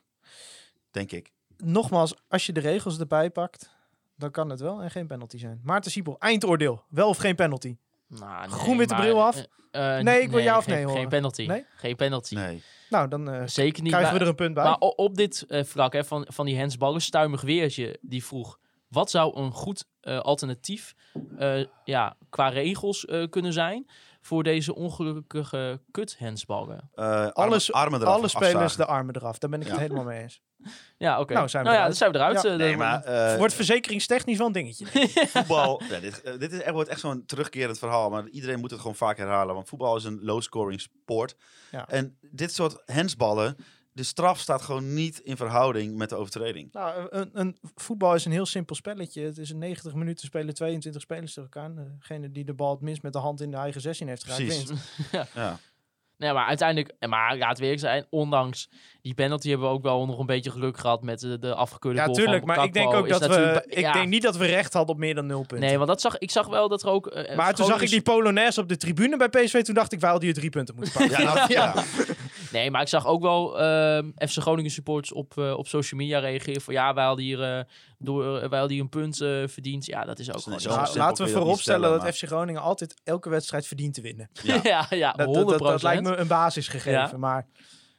Denk ik.
nogmaals, als je de regels erbij pakt, dan kan het wel en geen penalty zijn. Maarten Siepel, eindoordeel. Wel of geen penalty?
Nou, nee,
groen-witte
maar,
bril af?
eh, eh,
Nee, ik wil ja of
geen-
nee
Geen
horen.
penalty.
Nee?
Geen penalty.
Nee.
Nou, dan eh,
Zeker niet.
krijgen
maar-
we er een punt bij.
Maar o- op dit eh, vlak hè, van, van die hensballen, stuimig weertje, die vroeg... Wat zou een goed eh, alternatief eh, ja, qua regels eh, kunnen zijn voor deze ongelukkige kut-hensballen?
Eh,
Alles-
armen, armen eraf,
Alle spelers
afzagen.
de armen eraf. Daar ben ik
Ja.
het helemaal mee eens.
Ja, oké.
Nou, zijn we
ja,
eruit.
dan zijn we eruit.
Ja.
eh,
Nee,
dan-
maar *laughs* eh,
Wordt verzekeringstechnisch wel een dingetje. *laughs*
voetbal... *laughs* Ja, dit, eh, dit is echt, wordt echt zo'n terugkerend verhaal, maar iedereen moet het gewoon vaak herhalen. Want voetbal is een low-scoring sport.
Ja.
En dit soort hensballen, de straf staat gewoon niet in verhouding met de overtreding.
nou, een, een, voetbal is een heel simpel spelletje. Het is een 90 minuten spelen 22 spelers tegen elkaar. En Degene die de bal het minst met de hand in de eigen 16 heeft geraakt,
Precies.
wint. *laughs*
Ja.
Nee, maar uiteindelijk, eh, maar laat weer zijn, ondanks die penalty hebben we ook wel nog een beetje geluk gehad met de, de afgekeurde
Ja,
goal
tuurlijk.
van
Maar ik denk
Gakpo.
ook
Is
dat we...
natuurlijk bij-
Ik
ja.
denk niet dat we recht hadden op meer dan nul punten.
Nee, want dat zag, ik zag wel dat er ook... eh,
maar toen zag ik
Groningen-
die Polonaise op de tribune bij PSV. Toen dacht ik, wij hadden hier drie punten moeten
*laughs*
pakken.
Ja, nou, ja.
Nee, maar ik zag ook wel ehm, FC Groningen supporters op, eh, op social media reageren van... Ja, wij hadden hier, eh, door, wij hadden hier een punt eh, verdiend. Ja, dat is ook
Dat is
gewoon...
niet
zo.
zo.
Nou,
simpel kun
laten
je
we
dat
vooropstellen
niet
dat,
stellen,
FC Groningen altijd elke wedstrijd verdient te winnen.
*laughs* Ja, ja,
Dat,
100%.
dat, dat, dat lijkt me een basisgegeven.
Ja.
Maar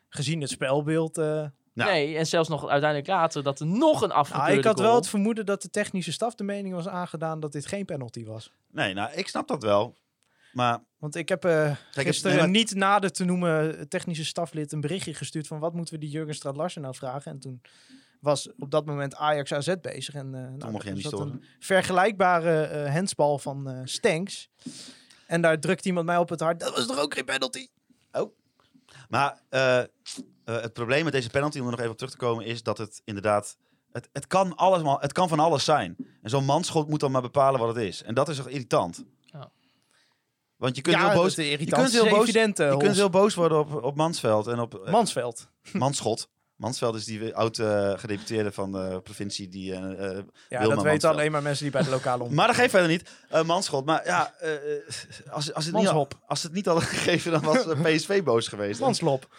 gezien het spelbeeld. eh,
Nou.
Nee, en zelfs nog uiteindelijk later dat er nog een afgekeurde
nou, ik had
goal-
wel het vermoeden dat de technische staf de mening was aangedaan dat dit geen penalty was.
Nee, nou, ik snap dat wel. Maar
Want ik heb eh
het-
gisteren
nee, maar-
niet nader te noemen eh, technische staflid een berichtje gestuurd van wat moeten we die Jurgen Straat Larsen nou vragen. En toen was op dat moment Ajax AZ bezig. En eh nou,
mocht jij
er
niet
zat
storen.
een vergelijkbare eh handsbal van eh Stenks. En daar drukt iemand mij op het hart. Dat was toch ook geen penalty?
Maar eh, eh, het probleem met deze penalty, om er nog even op terug te komen, is dat het inderdaad. Het, het, kan, alles, maar- het kan van alles zijn. En zo'n manschot moet dan maar bepalen wat het is. En dat is toch irritant?
Ja.
Want je kunt
Ja,
heel
dat
boos,
de
je
irritantie
kunt heel
is
boos,
evident, eh,
je kunt
Holst.
heel boos worden op, op Mansveld en op eh,
Mansveld.
Manschot. Mansveld is die oud eh, gedeputeerde van de provincie die eh, eh,
Ja,
Wilma
dat weten
Mansveld.
alleen maar mensen die bij de
*laughs*
lokale om.
maar dat geeft verder niet. Eh manschot. Maar ja, eh, eh, als, als, het niet, al- *laughs*
Manshop.
als het niet hadden gegeven, dan was eh, PSV boos geweest.
Manslop.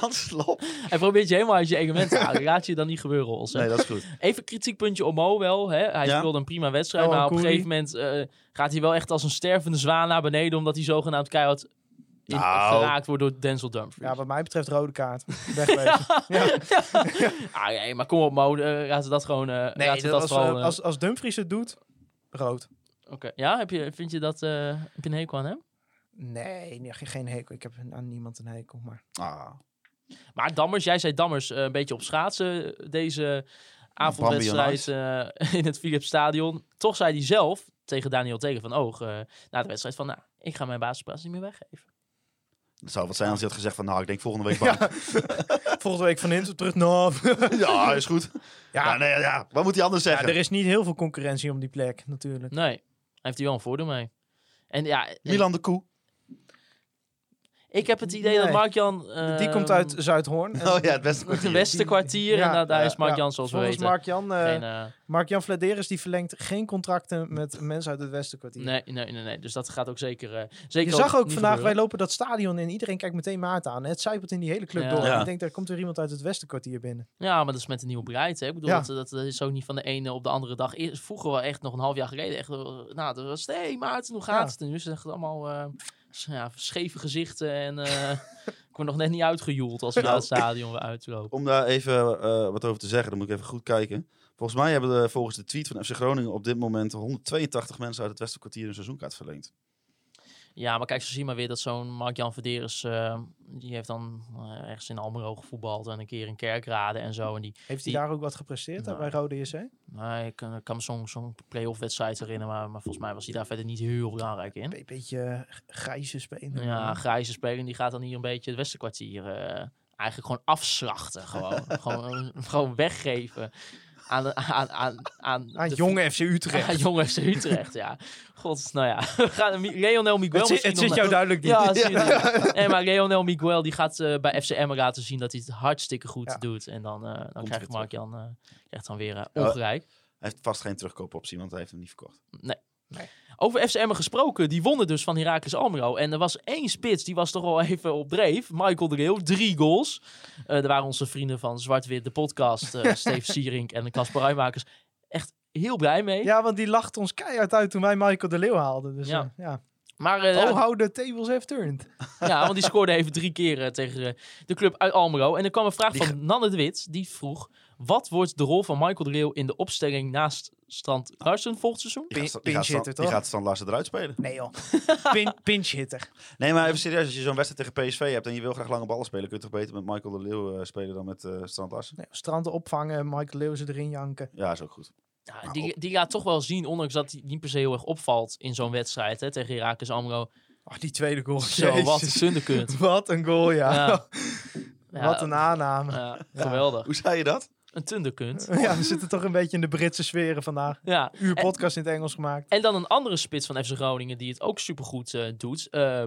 Manslop.
Hij probeert je helemaal uit je element te houden. Laat je dan niet gebeuren, Os.
Nee, dat is goed.
Even kritiekpuntje om Mo wel. Hè? Hij
Ja.
speelde een prima wedstrijd,
Johan
maar op een
Koeri.
gegeven moment eh, gaat hij wel echt als een stervende zwaan naar beneden, omdat hij zogenaamd keihard in,
Nou.
geraakt wordt door Denzel Dumfries.
Ja, wat mij betreft rode *laughs* kaart. Wegwezen.
Ah, nee, maar kom op Mo, eh, laten we dat gewoon... eh
Nee,
laten we
dat
dat
als,
vooral,
eh,
eh,
als, als Dumfries het doet, rood.
oké. Ja, heb je, vind je dat... eh heb je een hekel aan hem?
Nee, nee, ge- geen hekel. Ik heb aan niemand een hekel. Maar
Ah.
Maar Dammers, jij zei Dammers eh, een beetje op schaatsen eh, deze avondwedstrijd eh, *laughs* in het Philips Stadion. Toch zei hij zelf tegen Daniel Tegen van Oog eh, na de wedstrijd van... Nou, ik ga mijn basisplaats niet meer weggeven.
Dat zou wat zijn als hij had gezegd van, nou, ik denk volgende *laughs* week bank.
*laughs* volgende week van Hinten terug. Nou, *laughs*
Ja, is goed. Ja. nee, ja, wat moet hij anders
ja,
zeggen?
er is niet heel veel concurrentie om die plek natuurlijk.
Nee, hij heeft hier wel een voordeel mee. En ja, en
Milan de Koe.
ik heb het idee dat
Nee.
Mark-Jan...
die komt
ehm,
uit Zuidhoorn. En
Oh ja, het beste
het
kwartier.
westen kwartier
Ja,
en daar- daar
ja,
is Mark-Jan
ja,
zoals we
volgens
weten.
Mark-Jan eh,
Geen, eh,
Mark-Jan Vladeris die verlengt geen contracten met mensen uit het Westenkwartier.
nee, nee, nee, nee. Dus dat gaat ook zeker... eh zeker
Je zag ook
niet
vandaag, wij
gebeuren.
lopen dat stadion in. Iedereen kijkt meteen Maarten aan. Het zijpelt in die hele club
Ja.
door.
Ja.
Ik denk, daar komt er iemand uit het Westenkwartier binnen.
Ja, maar dat is met een nieuwe beleid. Hè? Ik bedoel,
Ja.
dat, dat, dat is ook niet van de ene op de andere dag. Eerst- Vroeger wel echt, nog een half jaar geleden, echt, eh, nou, dat was het, hey Maarten, hoe gaat
Ja.
het? En nu is het allemaal eh, s- ja, scheve gezichten en eh, *laughs* ik word nog net niet uitgejoeld als we naar het stadion weer uitlopen.
Om daar even eh, wat over te zeggen, dan moet ik even goed kijken. Volgens mij hebben de, volgens de tweet van FC Groningen op dit moment 182 mensen uit het Westerkwartier een seizoenkaart verlengd.
Ja, maar kijk, zo zie je maar weer dat zo'n Mark-Jan Verderes, eh, die heeft dan eh, ergens in Almelo gevoetbald en een keer in Kerkrade en zo. En die,
Heeft hij
Die-
daar ook wat gepresteerd hè,
Nee.
bij Rode JC?
nou, ik kan, ik kan me zo'n zo'n play-off wedstrijd herinneren, maar, maar volgens mij was hij daar verder niet heel belangrijk in.
Een beetje eh, grijze speler.
Ja, grijze speler die gaat dan hier een beetje het Westenkwartier eh, eigenlijk gewoon afslachten.
*laughs*
Gewoon, gewoon, eh, gewoon weggeven aan, de- aan, aan, aan,
Aan
de-
Ah, jonge
*laughs*
FC
aan
Utrecht.
jonge FC Utrecht, ja. God, nou ja. *laughs* We gaan, Mi- Leonel Miguel
Het, zit-
misschien
het zit
nog-
jou duidelijk *laughs* niet.
Ja, dat zie je niet. Nee, maar Leonel Miguel die gaat eh, bij FC Emmen laten zien dat hij het hartstikke goed
Ja.
doet. En dan, eh, dan
weer
krijgt Mark-Jan eh, krijgt dan weer eh,
Ja.
ongelijk.
Hij heeft vast geen terugkoopoptie, want hij heeft hem niet verkocht.
Over FCM gesproken, die wonnen dus van Heracles Almelo. En er was één spits, die was toch al even op dreef. Michael de Leeuw, drie goals. Eh daar waren onze vrienden van Zwart-Wit, de podcast, eh Steve Sierink en Casper Ruimakers echt heel blij mee.
Ja, want die lacht ons keihard uit toen wij Michael de Leeuw haalden. Dus,
Ja.
eh, ja.
Maar eh,
Oh, how the tables have turned.
ja, want die scoorde even drie keer eh, tegen eh, de club uit Almelo. En er kwam een vraag
Die
van Nanne de Wit, die vroeg... Wat wordt de rol van Michael de Leeuw in de opstelling naast Strand Larsen volgend seizoen?
Die gaat, Stan- die gaat,
pinch
Stan-
hitter,
die
toch?
gaat Stan Larsen eruit spelen.
Nee
*laughs*
joh, Pin, pinch hitter.
Nee, maar even serieus. Als je zo'n wedstrijd tegen PSV hebt en je wil graag lange ballen spelen, kun je toch beter met Michael de Leeuw eh, spelen dan met eh Strand Larsen?
Nee, stranden opvangen, Michael Leeuw ze erin janken.
Ja, is ook goed.
Ja, Nou,
Nou,
die, die laat toch wel zien, ondanks dat hij niet per se heel erg opvalt in zo'n wedstrijd hè, tegen Heracles Almelo.
Oh, die tweede *laughs* goal.
Zo, wat een
Jezus. *laughs*
zunderkunt.
Wat een goal, ja. *laughs*
Ja.
Wat een aanname.
Ja, geweldig.
Hoe zei je dat?
Een tunderkunt.
Ja, we zitten toch een beetje in de Britse sferen vandaag.
Ja.
Uur
En,
podcast in het Engels gemaakt.
en dan een andere spits van FC Groningen die het ook supergoed eh doet. Eh,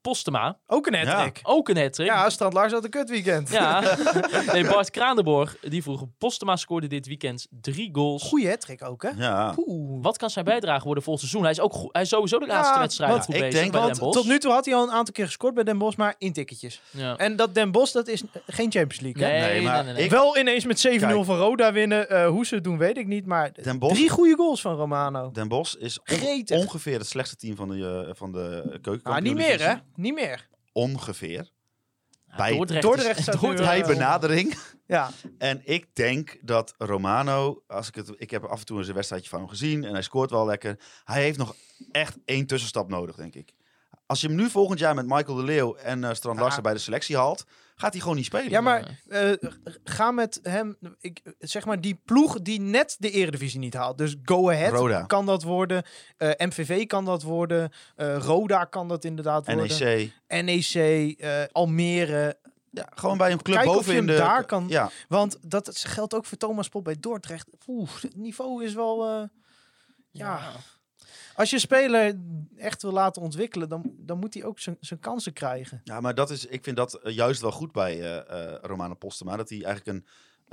Postema.
Ook een hat
Ook een hat
Ja, Strand Lars had een kutweekend.
Ja. *laughs* nee, Bart Kranenborg die vroeg... Postema scoorde dit weekend drie goals.
Goeie hat ook, hè?
Ja.
Poeh.
Wat kan zijn bijdrage worden volgend seizoen? Hij is ook goed, hij is sowieso de laatste
Ja,
wedstrijd
want
goed
ik
bezig
denk-
bij Den
want
Bosch.
Tot nu toe had hij al een aantal keer gescoord bij Den Bosch, maar in tikketjes.
Ja.
En dat Den Bosch, dat is eh, geen Champions League, hè?
Nee, nee,
Nee,
nee,
maar
nee,
ik-
Wel ineens met 7-0
Kijk.
van Roda winnen. Eh, hoe ze het doen, weet ik niet. Maar
Den Bosch,
drie goede goals van Romano.
Den Bosch is onge-
Gretig.
ongeveer het
Ah,
slechtste team van de, eh, van de keuken.
Ah, niet meer, hè? Niet meer.
eh, Ongeveer. bij
Dordrecht,
Dordrecht
is-
staat nu eh,
Dordrecht
bij
wel-
benadering.
Ja,
En ik denk dat Romano, als ik het, ik heb af en toe eens een wedstrijdje van hem gezien en hij scoort wel lekker. Hij heeft nog echt één tussenstap nodig, denk ik. Als je hem nu volgend jaar met Michael de Leeuw en eh, Strand Larsen bij de selectie haalt, gaat hij gewoon niet spelen.
ja maar eh, ga met hem... Ik, zeg maar die ploeg die net de Eredivisie niet haalt. Dus Go Ahead
Roda.
kan dat worden. eh, MVV kan dat worden. eh, Roda kan dat inderdaad worden.
NEC.
NEC, eh, Almere.
Ja, gewoon bij een club
Kijk of
boven
je
in
hem
de.
daar kan-
Ja,
Want dat geldt ook voor Thomas Pop bij Dordrecht. Oeh, het niveau is wel... eh, ja. Als je een speler echt wil laten ontwikkelen, dan, dan moet hij ook zijn zijn kansen krijgen.
ja, maar dat is, ik vind dat eh, juist wel goed bij eh, eh, Romano Postema. Dat hij eigenlijk een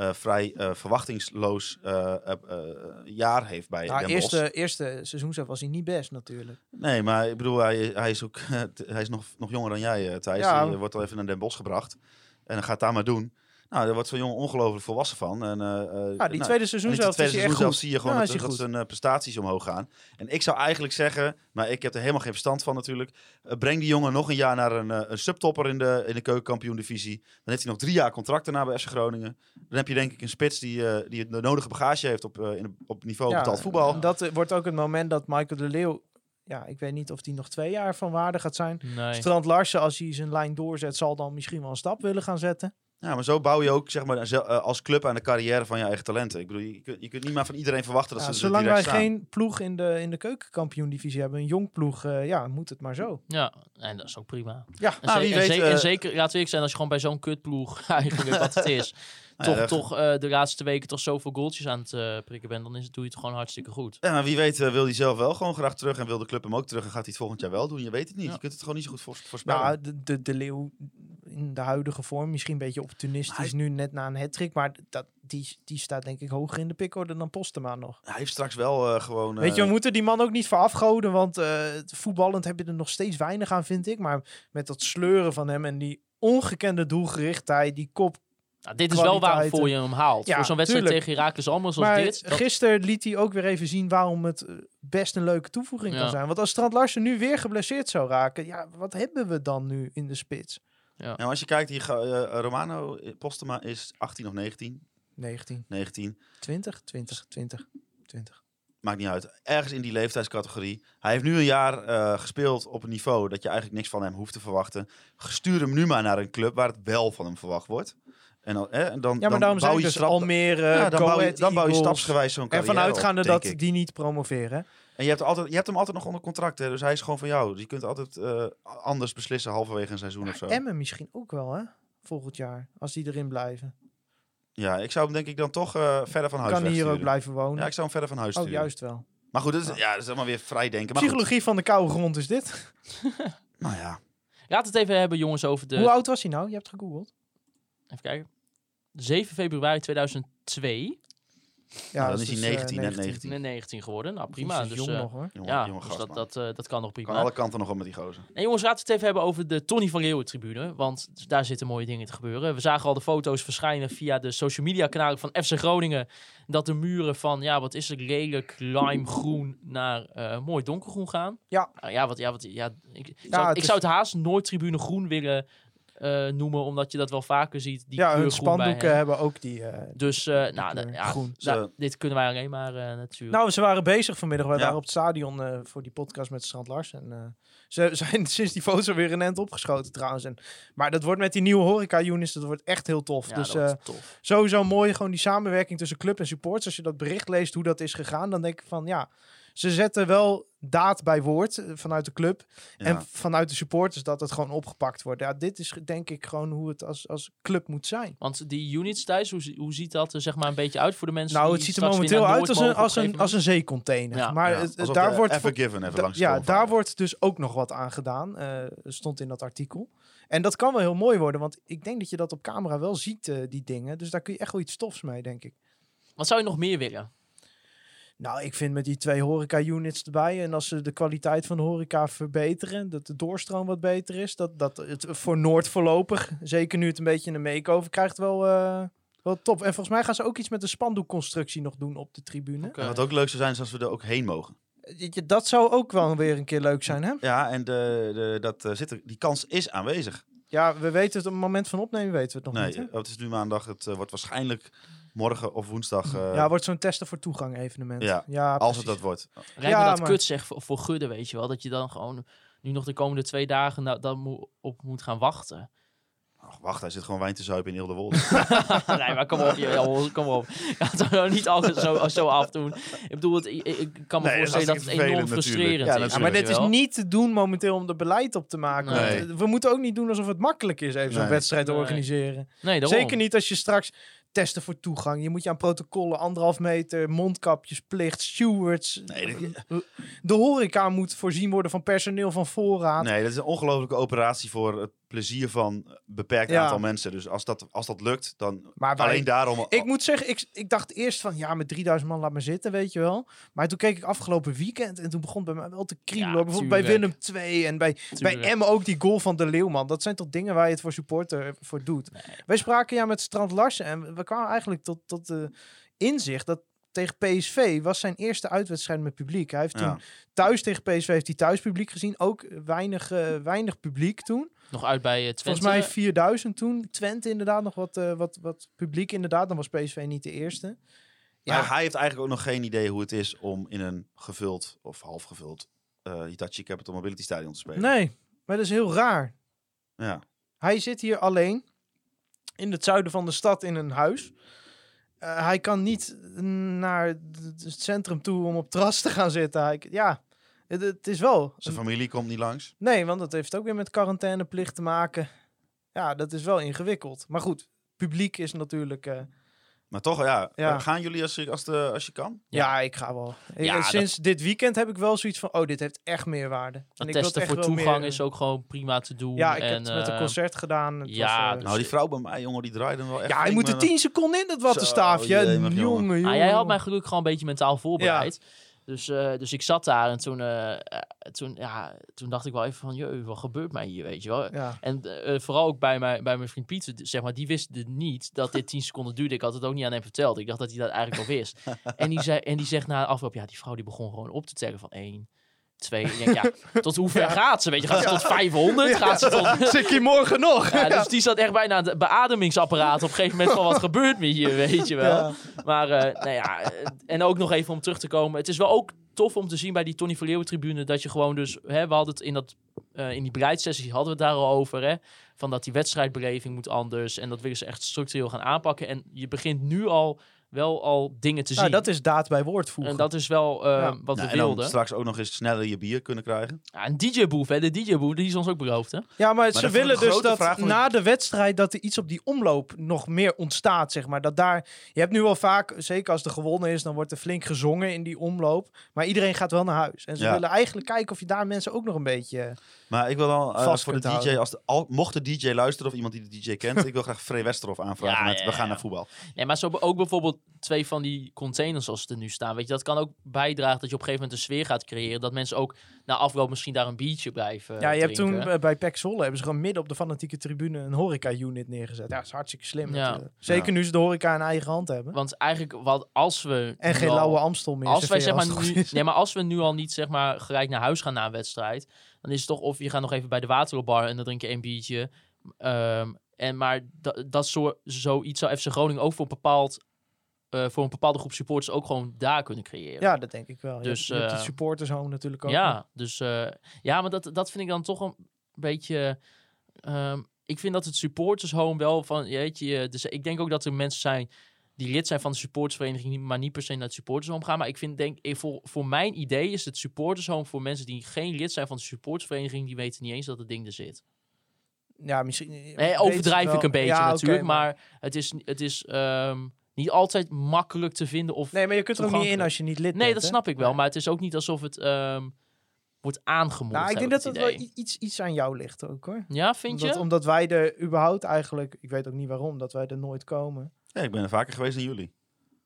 eh, vrij eh, verwachtingsloos eh, eh, eh, jaar heeft bij
Nou,
Den Bosch.
eerste, eerste seizoenshelft was hij niet best natuurlijk.
Nee, maar ik bedoel, hij, hij is, ook, *laughs* hij is nog, nog jonger dan jij, eh, Thijs.
Ja.
Hij wordt al even naar Den Bosch gebracht. En dan gaat daar maar doen. Nou, daar wordt zo'n jongen ongelooflijk volwassen van. En, eh, eh,
Ja, Ah, die
nou,
tweede
en die tweede
seizoenshelft is hij echt
seizoenshelft
goed.
zie je gewoon
Ja,
dat,
is hij
dat
goed.
zijn eh, prestaties omhoog gaan. En ik zou eigenlijk zeggen, maar ik heb er helemaal geen verstand van natuurlijk. eh, breng die jongen nog een jaar naar een, eh, een subtopper in de, in de keukenkampioen-divisie. Dan heeft hij nog drie jaar contract daarna bij FC Groningen. Dan heb je denk ik een spits die, eh, die de nodige bagage heeft op, eh, in, op niveau
Ja,
betaald voetbal.
en Dat eh, wordt ook het moment dat Michael de Leeuw... Ja, ik weet niet of die nog twee jaar van waarde gaat zijn.
Nee.
Strand Larsen, als hij zijn lijn doorzet, zal dan misschien wel een stap willen gaan zetten.
Ja, maar zo bouw je ook zeg maar, zel- eh, als club aan de carrière van je eigen talenten. Ik bedoel, je kunt, je kunt niet maar van iedereen verwachten dat
Ja,
ze er
zolang wij
direct staan.
geen ploeg in de, in de keukenkampioen-divisie hebben, een jong ploeg, eh, ja, moet het maar zo.
Ja, en dat is ook prima.
Ja,
En,
Ah,
ze-
wie
en
weet,
ze-
eh,
en zeker, laten we eerlijk zijn, als je gewoon bij zo'n kutploeg *laughs* eigenlijk wat het is, toch,
dat-
toch eh, de laatste weken toch zoveel goaltjes aan het eh, prikken bent, dan is, doe je het gewoon hartstikke goed.
Ja, maar wie weet eh, wil hij zelf wel gewoon graag terug en wil de club hem ook terug en gaat hij het volgend jaar wel doen. Je weet het niet.
Ja.
Je kunt het gewoon niet zo goed voors- voorspellen.
Nou, de, de, de Leeuw in de huidige vorm, misschien een beetje opportunistisch nu net na een hat maar dat, die, die staat denk ik hoger in de pickorde dan Postema nog.
Hij heeft straks wel eh, gewoon... eh,
Weet je, we moeten die man ook niet voor afgoden, want eh, voetballend heb je er nog steeds weinig aan, vind ik. Maar met dat sleuren van hem en die ongekende doelgerichtheid, die kop.
Nou, dit is wel waarom
Kwaliteiten.
voor je hem haalt.
Ja,
voor zo'n wedstrijd
tuurlijk.
tegen Herakles allemaal zoals
Maar
dit. dat-
gisteren liet hij ook weer even zien waarom het eh, best een leuke toevoeging
Ja.
kan zijn. Want als Strand Larsen nu weer geblesseerd zou raken, ja, wat hebben we dan nu in de spits?
ja, maar nou, als je kijkt, hier, ga- eh, Romano eh, Postema is 18 of 19.
19,
19.
20, 20, 20, 20.
Maakt niet uit. Ergens in die leeftijdscategorie. Hij heeft nu een jaar eh, gespeeld op een niveau dat je eigenlijk niks van hem hoeft te verwachten. Stuur hem nu maar naar een club waar het wel van hem verwacht wordt. En dan, eh, en dan,
Ja, maar
dan
daarom
bouw
zijn
je
dus
stap-
Almere,
ja, dan,
Go
bouw je,
Ahead
dan bouw je
Eagles.
stapsgewijs zo'n
En
carrière
vanuitgaande
op, denk
dat
ik.
die niet promoveren.
En je hebt, altijd, je hebt hem altijd nog onder contract, hè? dus hij is gewoon van jou. Dus je kunt altijd eh, anders beslissen halverwege een seizoen of zo.
Emmen misschien ook wel, hè? Volgend jaar, als die erin blijven.
Ja, ik zou hem denk ik dan toch eh, verder van huis
kan hij hier
wegsturen.
ook blijven wonen.
Ja, ik zou hem verder van huis
oh,
sturen.
juist wel.
Maar goed, dat is, ja, dat is allemaal weer vrij denken. Maar goed.
Psychologie van de koude grond is dit.
nou ja,
Laat het even hebben, jongens, over de...
Hoe oud was hij nou? Je hebt gegoogeld.
Even kijken. 7 februari 2002.
Ja,
Nou,
dus,
dan is hij 19, net 19.
Nee, 19 geworden. Nou, prima.
Jezus,
Dus,
jong
eh,
nog, hoor.
jongen,
ja,
jongen
dus
gast,
dat,
man.
dat, eh, dat kan nog
kan
prima.
alle kanten nog op met die gozer.
Nee, jongens, laten we het even hebben over de Tony van Leeuwen tribune. Want dus daar zitten mooie dingen te gebeuren. We zagen al de foto's verschijnen via de social media kanalen van FC Groningen. Dat de muren van, ja, wat is het, lelijk, limegroen naar eh, mooi donkergroen gaan.
Ja.
Nou ja, wat, ja, wat, ja ik, ik
Ja,
zou,
het
ik
is-
zou het haast nooit tribune groen willen eh, noemen. Omdat je dat wel vaker ziet. Die
Ja,
kleur
hun
groen bij
spandoeken
hen.
hebben ook die... eh,
Dus, eh, nou,
kleur
da- ja,
groen.
da-
Zo.
dit kunnen wij alleen maar eh, natuurlijk.
Nou, ze waren bezig vanmiddag. Wij
Ja.
waren op het stadion eh, voor die podcast met Strand Lars. En eh, ze *laughs* zijn sinds die foto weer een end opgeschoten trouwens. En, maar dat wordt met die nieuwe horeca-units, dat wordt echt heel tof.
ja,
dus
dat
eh,
is tof.
sowieso mooi, gewoon die samenwerking tussen club en supporters. Als je dat bericht leest, hoe dat is gegaan, dan denk ik van ja... Ze zetten wel daad bij woord eh, vanuit de club.
Ja.
En vanuit de supporters dat het gewoon opgepakt wordt. Ja, dit is denk ik gewoon hoe het als, als club moet zijn.
Want die units thuis, hoe, zi- hoe ziet dat er zeg maar een beetje uit voor de mensen?
Nou,
die
het ziet er
straks weer
momenteel
naar
uit als
Noord
een,
mogen op
als een,
gegeven
als een zeecontainer.
Ja.
Maar
Ja,
het- het-
alsof
daar
de
wordt
Ever Given even
Da-
langs de
ja,
school
daar
varen.
wordt dus ook nog wat aan gedaan. eh, stond in dat artikel. En dat kan wel heel mooi worden, want ik denk dat je dat op camera wel ziet, eh, die dingen. Dus daar kun je echt wel iets tofs mee, denk ik.
moment. Wat zou je nog meer willen?
Nou, ik vind met die twee horeca-units erbij. En als ze de kwaliteit van de horeca verbeteren, dat de doorstroom wat beter is. Dat, dat het voor Noord voorlopig, zeker nu het een beetje een make-over krijgt, wel, eh, wel top. En volgens mij gaan ze ook iets met de spandoekconstructie nog doen op de tribune.
En wat ook leuk zou zijn, is als we er ook heen mogen.
Eh, Dat zou ook wel weer een keer leuk zijn, hè?
Ja, en de, de, dat, eh, zit er, die kans is aanwezig.
Ja, we weten het op het moment van opnemen weten we het nog niet.
Nee,
hè?
oh, het is nu maandag. Het eh, wordt waarschijnlijk morgen of woensdag. eh,
ja, wordt zo'n testen voor toegang evenement.
Ja, als het dat wordt.
Rijkt me
Ja,
dat
maar-
kut zeg voor, voor Gudde, weet je wel. Dat je dan gewoon nu nog de komende twee dagen nou, dan moe- op moet gaan wachten. *laughs*
Ach, wacht, hij zit gewoon wijn te zuipen in
*laughs*
Hildewold.
nee, maar kom op, joh, kom op. *laughs* Je gaat het nou niet altijd zo, zo afdoen. Ik bedoel, het, ik, ik kan me
Nee, dat
voorstellen
is
dat het
hartstikke
enorm
vervelend
frustrerend
natuurlijk. Ja,
is.
Ja, maar
weet
dit
je
is
wel.
niet te doen momenteel om er beleid op te maken.
Nee.
Want, eh, We moeten ook niet doen alsof het makkelijk is even zo'n
Nee.
wedstrijd te
Nee.
organiseren.
Nee, daarom.
Zeker niet als je straks testen voor toegang. Je moet je aan protocollen, anderhalf meter, mondkapjesplicht, stewards.
Nee, dit-
De horeca moet voorzien worden van personeel van voorraad.
nee, dat is een ongelofelijke operatie voor het plezier van een beperkt
Ja.
aantal mensen. Dus als dat, als dat lukt, dan
Maar wij-
alleen daarom.
Ik moet zeggen, ik, ik dacht eerst van ja, met 3000 man laat me zitten, weet je wel. Maar toen keek ik afgelopen weekend en toen begon het bij mij wel te kriebelen.
Ja,
hoor. Bijvoorbeeld bij
tuurlijk.
Willem 2 en bij, bij
Tuurlijk.
Emmen ook die goal van de Leeuwman. Dat zijn toch dingen waar je het voor supporter eh, voor doet. Wij spraken ja met Strand Larsen en we kwamen eigenlijk tot, tot de inzicht dat tegen PSV was zijn eerste uitwedstrijd met publiek. Hij heeft toen
Ja.
thuis tegen PSV heeft hij thuis publiek gezien. Ook weinig, eh, weinig publiek toen.
Nog uit bij het Twente.
Volgens mij 4000 toen. Twente inderdaad nog wat, eh, wat, wat publiek inderdaad. Dan was PSV niet de eerste.
Ja.
Ja.
hij heeft eigenlijk ook nog geen idee hoe het is om in een gevuld of half gevuld eh, Hitachi Capital Mobility Stadion te spelen.
Nee, maar dat is heel raar.
Ja.
Hij zit hier alleen in het zuiden van de stad in een huis. Eh, hij kan niet naar het het centrum toe om op het terras te gaan zitten. Hij, ja, het, het is wel.
Zijn familie komt niet langs.
Nee, want dat heeft ook weer met quarantaineplicht te maken. Ja, dat is wel ingewikkeld. Maar goed, publiek is natuurlijk. eh,
Maar toch, ja.
Ja.
eh, gaan jullie als, je- als, de, als je kan?
Ja, ik ga wel. Ik-
Ja,
en
dat-
sinds dit weekend heb ik wel zoiets van, oh, dit heeft echt meerwaarde. En
Dat
ik wil het
testen
echt
voor
wel
toegang
meer- eh,
is ook gewoon prima te doen.
Ja, ik
en,
heb het met een
eh,
concert gedaan. Het
ja,
was, eh,
dus-
Nou, die vrouw bij mij, jongen, die draaide hem wel echt. eh,
ja, je
flink
moet er
met een-
10 seconden in, dat wattenstaafje.
Zo, jemig,
Jongen,
jongen.
jongen.
Ah, jij had mij gelukkig gewoon een beetje mentaal voorbereid. Dus, eh, dus ik zat daar en toen, eh, eh, toen, ja, toen dacht ik wel even van, jee, wat gebeurt mij hier, weet je wel.
Ja.
En eh, vooral ook bij, mijn bij mijn vriend Pieter, d- zeg maar, die wist het niet dat dit 10 seconden duurde. Ik had het ook niet aan hem verteld. Ik dacht dat hij dat eigenlijk al wist. en, die zei, en die zegt na de afloop, ja, die vrouw die begon gewoon op te tellen van 1, 2. Ik denk,
*laughs*
ja, tot hoe ver gaat ze? Weet je, gaat ze tot 500? Gaat ze tot...
Zit ik hier morgen nog?
Ja, dus die zat echt bijna aan het beademingsapparaat op een gegeven moment van wat gebeurt me hier, weet je wel. Maar eh, nou ja, eh, en ook nog even om terug te komen. Het is wel ook tof om te zien bij die Tony Verleeuwen tribune dat je gewoon dus, hè, we hadden het in dat eh, in die beleidssessie hadden we het daar al over, hè, van dat die wedstrijdbeleving moet anders en dat willen ze echt structureel gaan aanpakken. En je begint nu al wel al dingen te
Nou,
zien.
dat is daad bij woord voegen.
en dat is wel eh,
Ja.
wat
Nou,
we
en dan
wilden.
straks ook nog eens sneller je bier kunnen krijgen.
Ja, een DJ-boef, hè? De DJ-boef, die is ons ook beloofd, hè?
Ja, maar,
dat
ze
vond ik
willen
een
dus
grote
dat
vraag van-
na de wedstrijd dat er iets op die omloop nog meer ontstaat, zeg maar. Dat daar, je hebt nu wel vaak, zeker als er gewonnen is, dan wordt er flink gezongen in die omloop. Maar iedereen gaat wel naar huis. En ze
Ja.
willen eigenlijk kijken of je daar mensen ook nog een beetje...
Maar ik wil dan eh,
Vast
voor de
kunt
DJ,
houden.
als de, al- mocht de DJ luisteren of iemand die de DJ
*laughs*
kent, ik wil graag Free Westerhof aanvragen.
Ja,
met,
ja,
we gaan
ja.
naar voetbal.
Nee, maar zo be- ook bijvoorbeeld twee van die containers zoals ze er nu staan. Weet je, dat kan ook bijdragen dat je op een gegeven moment een sfeer gaat creëren. Dat mensen ook na afloop misschien daar een biertje blijven.
Ja, je hebt
drinken.
toen eh, bij PEC Zwolle hebben ze gewoon midden op de fanatieke tribune een horeca-unit neergezet. Ja, dat is hartstikke slim.
Ja.
natuurlijk. Zeker nu ze de horeca in eigen hand hebben.
Want eigenlijk, wat, als we. nou
En
nu
geen
al-
lauwe Amstel meer.
Als wij zeg
serveren
maar
het goed
nu,
is.
nee, maar als we nu al niet zeg maar gelijk naar huis gaan na een wedstrijd, dan is het toch of je gaat nog even bij de waterbar en dan drink je één biertje. Ehm, en maar dat, dat soort zoiets zou FC Groningen ook voor een bepaald eh, voor een bepaalde groep supporters ook gewoon daar kunnen creëren.
*laughs* Ja, dat denk ik wel. Dus,
Dus,
je hebt
eh,
het supportershome natuurlijk ook.
Ja, dus eh, ja, maar dat, dat vind ik dan toch een beetje. ehm, ik vind dat het supporters home wel van. Jeetje, eh, dus ik denk ook dat er mensen zijn die lid zijn van de supportersvereniging, die maar niet per se naar het supporters home gaan. Maar ik vind, denk ik, voor, voor mijn idee is het supporters home voor mensen die geen lid zijn van de supportersvereniging, die weten niet eens dat het ding er zit.
ja misschien... eh,
Nee, overdrijf ik een beetje
Ja, oké,
natuurlijk, maar... het is, het is ehm, niet altijd makkelijk te vinden of
Nee, maar je kunt er ook niet in
toegankelijk.
als je niet lid bent.
Nee, dat
hè?
snap ik wel. Maar het is ook niet alsof het ehm, wordt aangemoedigd.
Nou, ik
heb
denk
het
dat dat wel
idee.
i- iets, iets aan jou ligt ook hoor.
Ja, vind je?
Omdat, omdat wij er überhaupt eigenlijk, ik weet ook niet waarom, dat wij er nooit komen.
Ja, ik ben er vaker geweest dan jullie.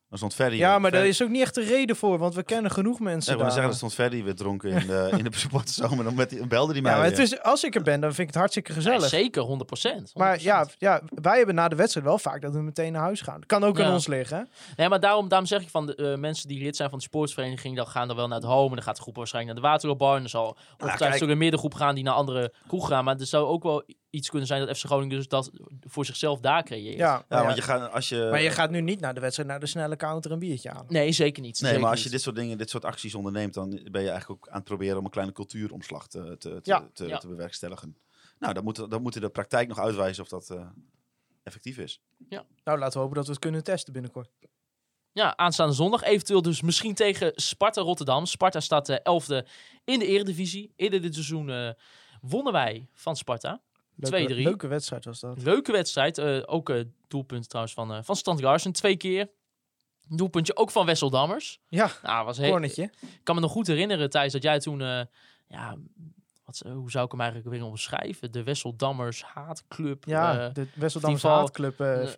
Dan stond Ferry.
Ja, maar daar
Ferry-
is ook niet echt een reden voor, want we kennen genoeg
Ja,
mensen.
ik wil
daar.
zeggen, er stond Ferry weer dronken in de, in de *laughs* supporterzomer. Dan met die, belde die mij
ja, maar het
weer.
is, als ik er ben, dan vind ik het hartstikke
Ja,
gezellig.
zeker, 100 procent.
Maar ja, ja, wij hebben na de wedstrijd wel vaak dat we meteen naar huis gaan. Kan ook aan
Ja.
ons liggen. hè?
Nee, maar daarom, daarom zeg ik van de eh, mensen die lid zijn van de sportsvereniging, dan gaan dan wel naar het home. En dan gaat de
Nou,
groep waarschijnlijk naar de waterbar. En dan zal ongetwijfeld
kijk.
ook een middengroep gaan die naar andere kroeg gaan. Maar er zou ook wel i- iets kunnen zijn dat FC Groningen dus dat voor zichzelf daar creëert.
Ja, maar,
Ja, want je
ja.
gaat, eh, als je,
maar je gaat nu niet naar de wedstrijd, naar de snelle counter een biertje halen.
Nee, zeker niet.
nee,
zeker
maar als je
niet.
dit soort dingen, dit soort acties onderneemt, dan ben je eigenlijk ook aan het proberen om een kleine cultuuromslag te, te, te,
Ja.
te,
Ja.
te bewerkstelligen. Nou, dan moet, dan moet de praktijk nog uitwijzen of dat eh, effectief is.
Nou, laten we hopen dat we het kunnen testen binnenkort.
Ja, aanstaande zondag. Eventueel dus misschien tegen Sparta Rotterdam. Sparta staat de 11e in de eredivisie. Eerder dit seizoen eh, wonnen wij van Sparta.
Leuke,
2-3.
leuke wedstrijd was dat.
Leuke wedstrijd. eh, ook eh doelpunt trouwens van, eh van Stant Garsen. Twee keer. Doelpuntje ook van Wessel Dammers.
Ja,
Nou, was heel. Ik
cornetje.
kan me nog goed herinneren, Thijs, dat jij toen... eh, ja, wat, eh, hoe zou ik hem eigenlijk weer omschrijven? De Wessel Dammers haatclub. eh,
Ja, de Wesseldamse
val-
haatclub. eh,
eh,